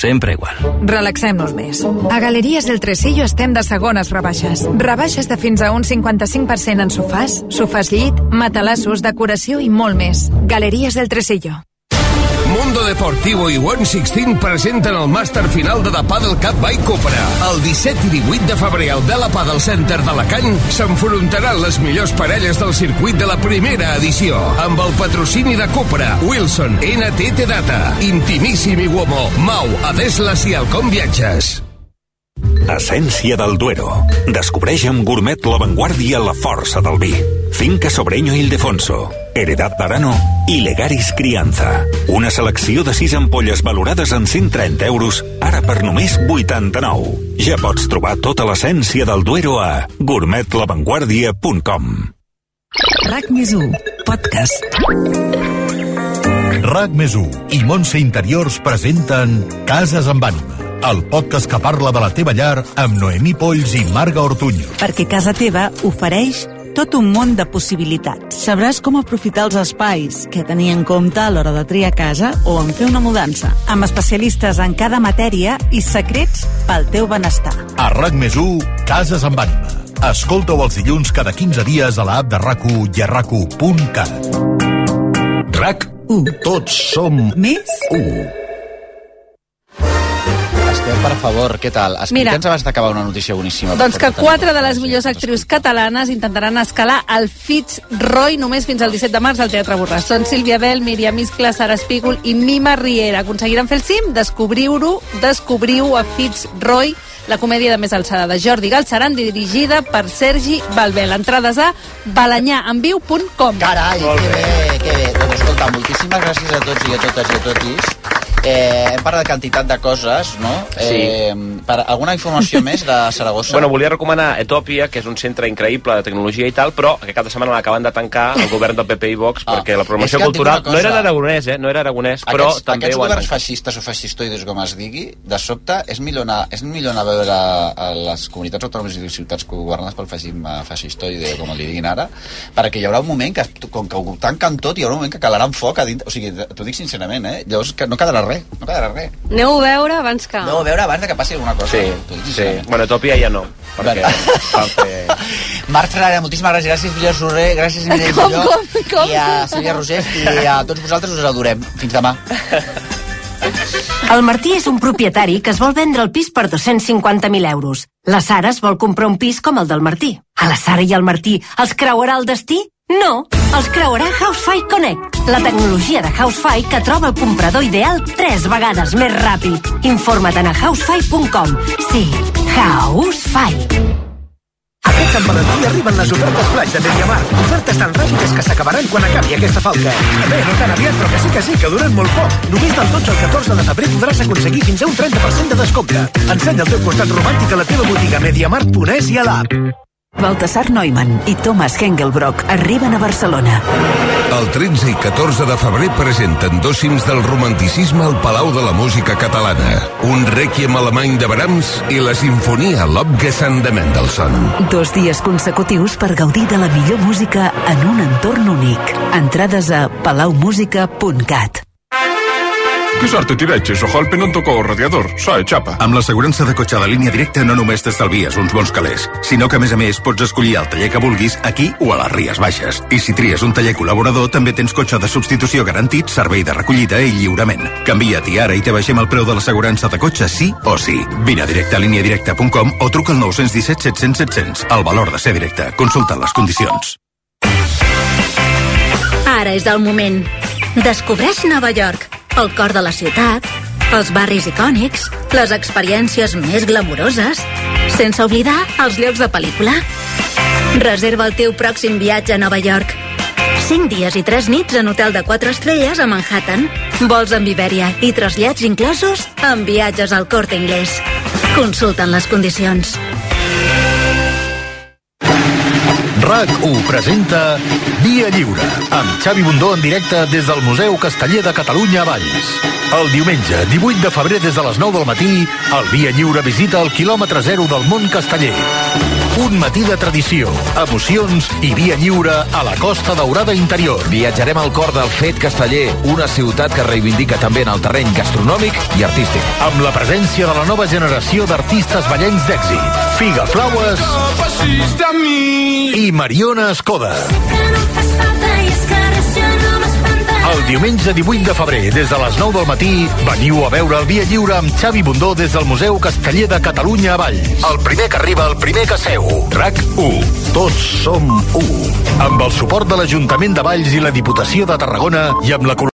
sempre igual. Relaxem-nos més. A Galeries del Tresillo estem de segones rebaixes. Rebaixes de fins a un 55% en sofàs, sofàs llit, matalassos, decoració i molt més. Galeries del Tresillo. Mundo Deportivo i 116 presenten el màster final de The Paddle Cup by Cupra. El 17 i 18 de febrer al Dela Paddle Center d'Alacant s'enfrontaran les millors parelles del circuit de la primera edició amb el patrocini de Cupra, Wilson, NTT Data, Intimíssim i Uomo, Mau, Adeslas i Alcom Viatges. Essència del Duero. Descobreix amb Gourmet La Vanguardia la força del vi. Finca Sobreño Ildefonso, Heredad Barano i Legaris Crianza. Una selecció de 6 ampolles valorades en 130 euros, ara per només 89. Ja pots trobar tota l'essència del Duero a gourmetlavanguardia.com RAC més podcast. RAC més i Montse Interiors presenten Cases amb ànima el podcast que parla de la teva llar amb Noemí Polls i Marga Ortuño. Perquè casa teva ofereix tot un món de possibilitats. Sabràs com aprofitar els espais, què tenir en compte a l'hora de triar casa o en fer una mudança, amb especialistes en cada matèria i secrets pel teu benestar. A RAC més 1, Cases amb ànima. Escolta-ho els dilluns cada 15 dies a l'app de RAC1 i a rac1.cat. RAC 1. Tots som més 1. Esther, per favor, què tal? Explica'ns Mira. abans d'acabar una notícia boníssima. Doncs que perquè tenim quatre de molta les informació. millors actrius catalanes intentaran escalar el Fitzroy només fins al 17 de març al Teatre Borràs. Són Sílvia Bell, Míriam Iscla, Sara Espígol i Mima Riera. Aconseguiran fer el cim? Descobriu-ho, descobriu a Fitzroy, la comèdia de més alçada de Jordi Galceran, dirigida per Sergi Balbé. Entrades a balanyaenviu.com. Carai, que bé, que bé. Doncs escolta, moltíssimes gràcies a tots i a totes i a totis. Eh, hem parlat de quantitat de coses, no? Eh, per alguna informació més de Saragossa? Bueno, volia recomanar Etòpia, que és un centre increïble de tecnologia i tal, però que cada setmana l'acaben de tancar el govern del PP i Vox, ah, perquè la programació és que et dic cultural... una cosa. No era d'Aragonès, eh? No era aragonès, però aquests, també aquests ho han governs feixistes o feixistoides, com es digui, de sobte és millor anar, és millor anar a veure a les comunitats autònomes i les ciutats governades pel feixisme feixistoide, com li diguin ara, perquè hi haurà un moment que, com que ho tanquen tot, hi haurà un moment que calaran foc a dintre. O sigui, t'ho dic sincerament, eh? Llavors que no quedarà res, no quedarà res. Aneu a veure abans que... No, a veure abans de que passi alguna cosa. Sí, sí. Bueno, Etòpia ja no, perquè... Marc Ferrara, moltíssimes gràcies. Gràcies, Villa Sorrer, gràcies, Mireia Com, Giró, com, com? I a Sílvia Roger i a tots vosaltres us adorem. Fins demà. El Martí és un propietari que es vol vendre el pis per 250.000 euros. La Sara es vol comprar un pis com el del Martí. A la Sara i al Martí els creuarà el destí? No, els creuarà Housefy Connect, la tecnologia de Housefy que troba el comprador ideal tres vegades més ràpid. Informa't a housefy.com. Sí, Housefy. Aquest Sant Valentí arriben les ofertes flash de Mediamar. Ofertes tan ràpides que s'acabaran quan acabi aquesta falca. Bé, no tan aviat, però que sí que sí, que duren molt poc. Només del 12 al 14 de febrer podràs aconseguir fins a un 30% de descompte. Ensenya el teu costat romàntic a la teva botiga Mediamar.es i a l'app. Baltasar Neumann i Thomas Hengelbrock arriben a Barcelona. El 13 i 14 de febrer presenten dos cims del romanticisme al Palau de la Música Catalana. Un rèquiem alemany de Brahms i la sinfonia Lobgesang de Mendelssohn. Dos dies consecutius per gaudir de la millor música en un entorn únic. Entrades a palaumusica.cat. ¿Qué suerte tiraches? Ojalá el no tocó radiador. eh, Sae, chapa. Amb l'assegurança de cotxe de línia directa no només t'estalvies uns bons calés, sinó que, a més a més, pots escollir el taller que vulguis aquí o a les Ries Baixes. I si tries un taller col·laborador, també tens cotxe de substitució garantit, servei de recollida i lliurament. Canvia-t'hi ara i te baixem el preu de l'assegurança de cotxe sí o sí. Vine a directe a líniadirecta.com o truca al 917 700 700. El valor de ser directe. Consulta les condicions. Ara és el moment. Descobreix Nova York, el cor de la ciutat, els barris icònics, les experiències més glamuroses, sense oblidar els llocs de pel·lícula. Reserva el teu pròxim viatge a Nova York. 5 dies i 3 nits en hotel de 4 estrelles a Manhattan. Vols amb Iberia i trasllats inclosos amb viatges al Corte Inglés. Consulten les condicions. RAC1 presenta Via Lliure, amb Xavi Bundó en directe des del Museu Casteller de Catalunya a Valls. El diumenge, 18 de febrer, des de les 9 del matí, el Via Lliure visita el quilòmetre zero del món casteller. Un matí de tradició, emocions i via lliure a la Costa Daurada Interior. Viatjarem al cor del fet casteller, una ciutat que reivindica també en el terreny gastronòmic i artístic. Amb la presència de la nova generació d'artistes ballencs d'èxit, Figa Flaues i Mariona Escoda. El diumenge 18 de febrer, des de les 9 del matí, veniu a veure el Via Lliure amb Xavi Bundó des del Museu Casteller de Catalunya a Valls. El primer que arriba, el primer que seu. RAC 1. Tots som 1. Amb el suport de l'Ajuntament de Valls i la Diputació de Tarragona i amb la col·laboració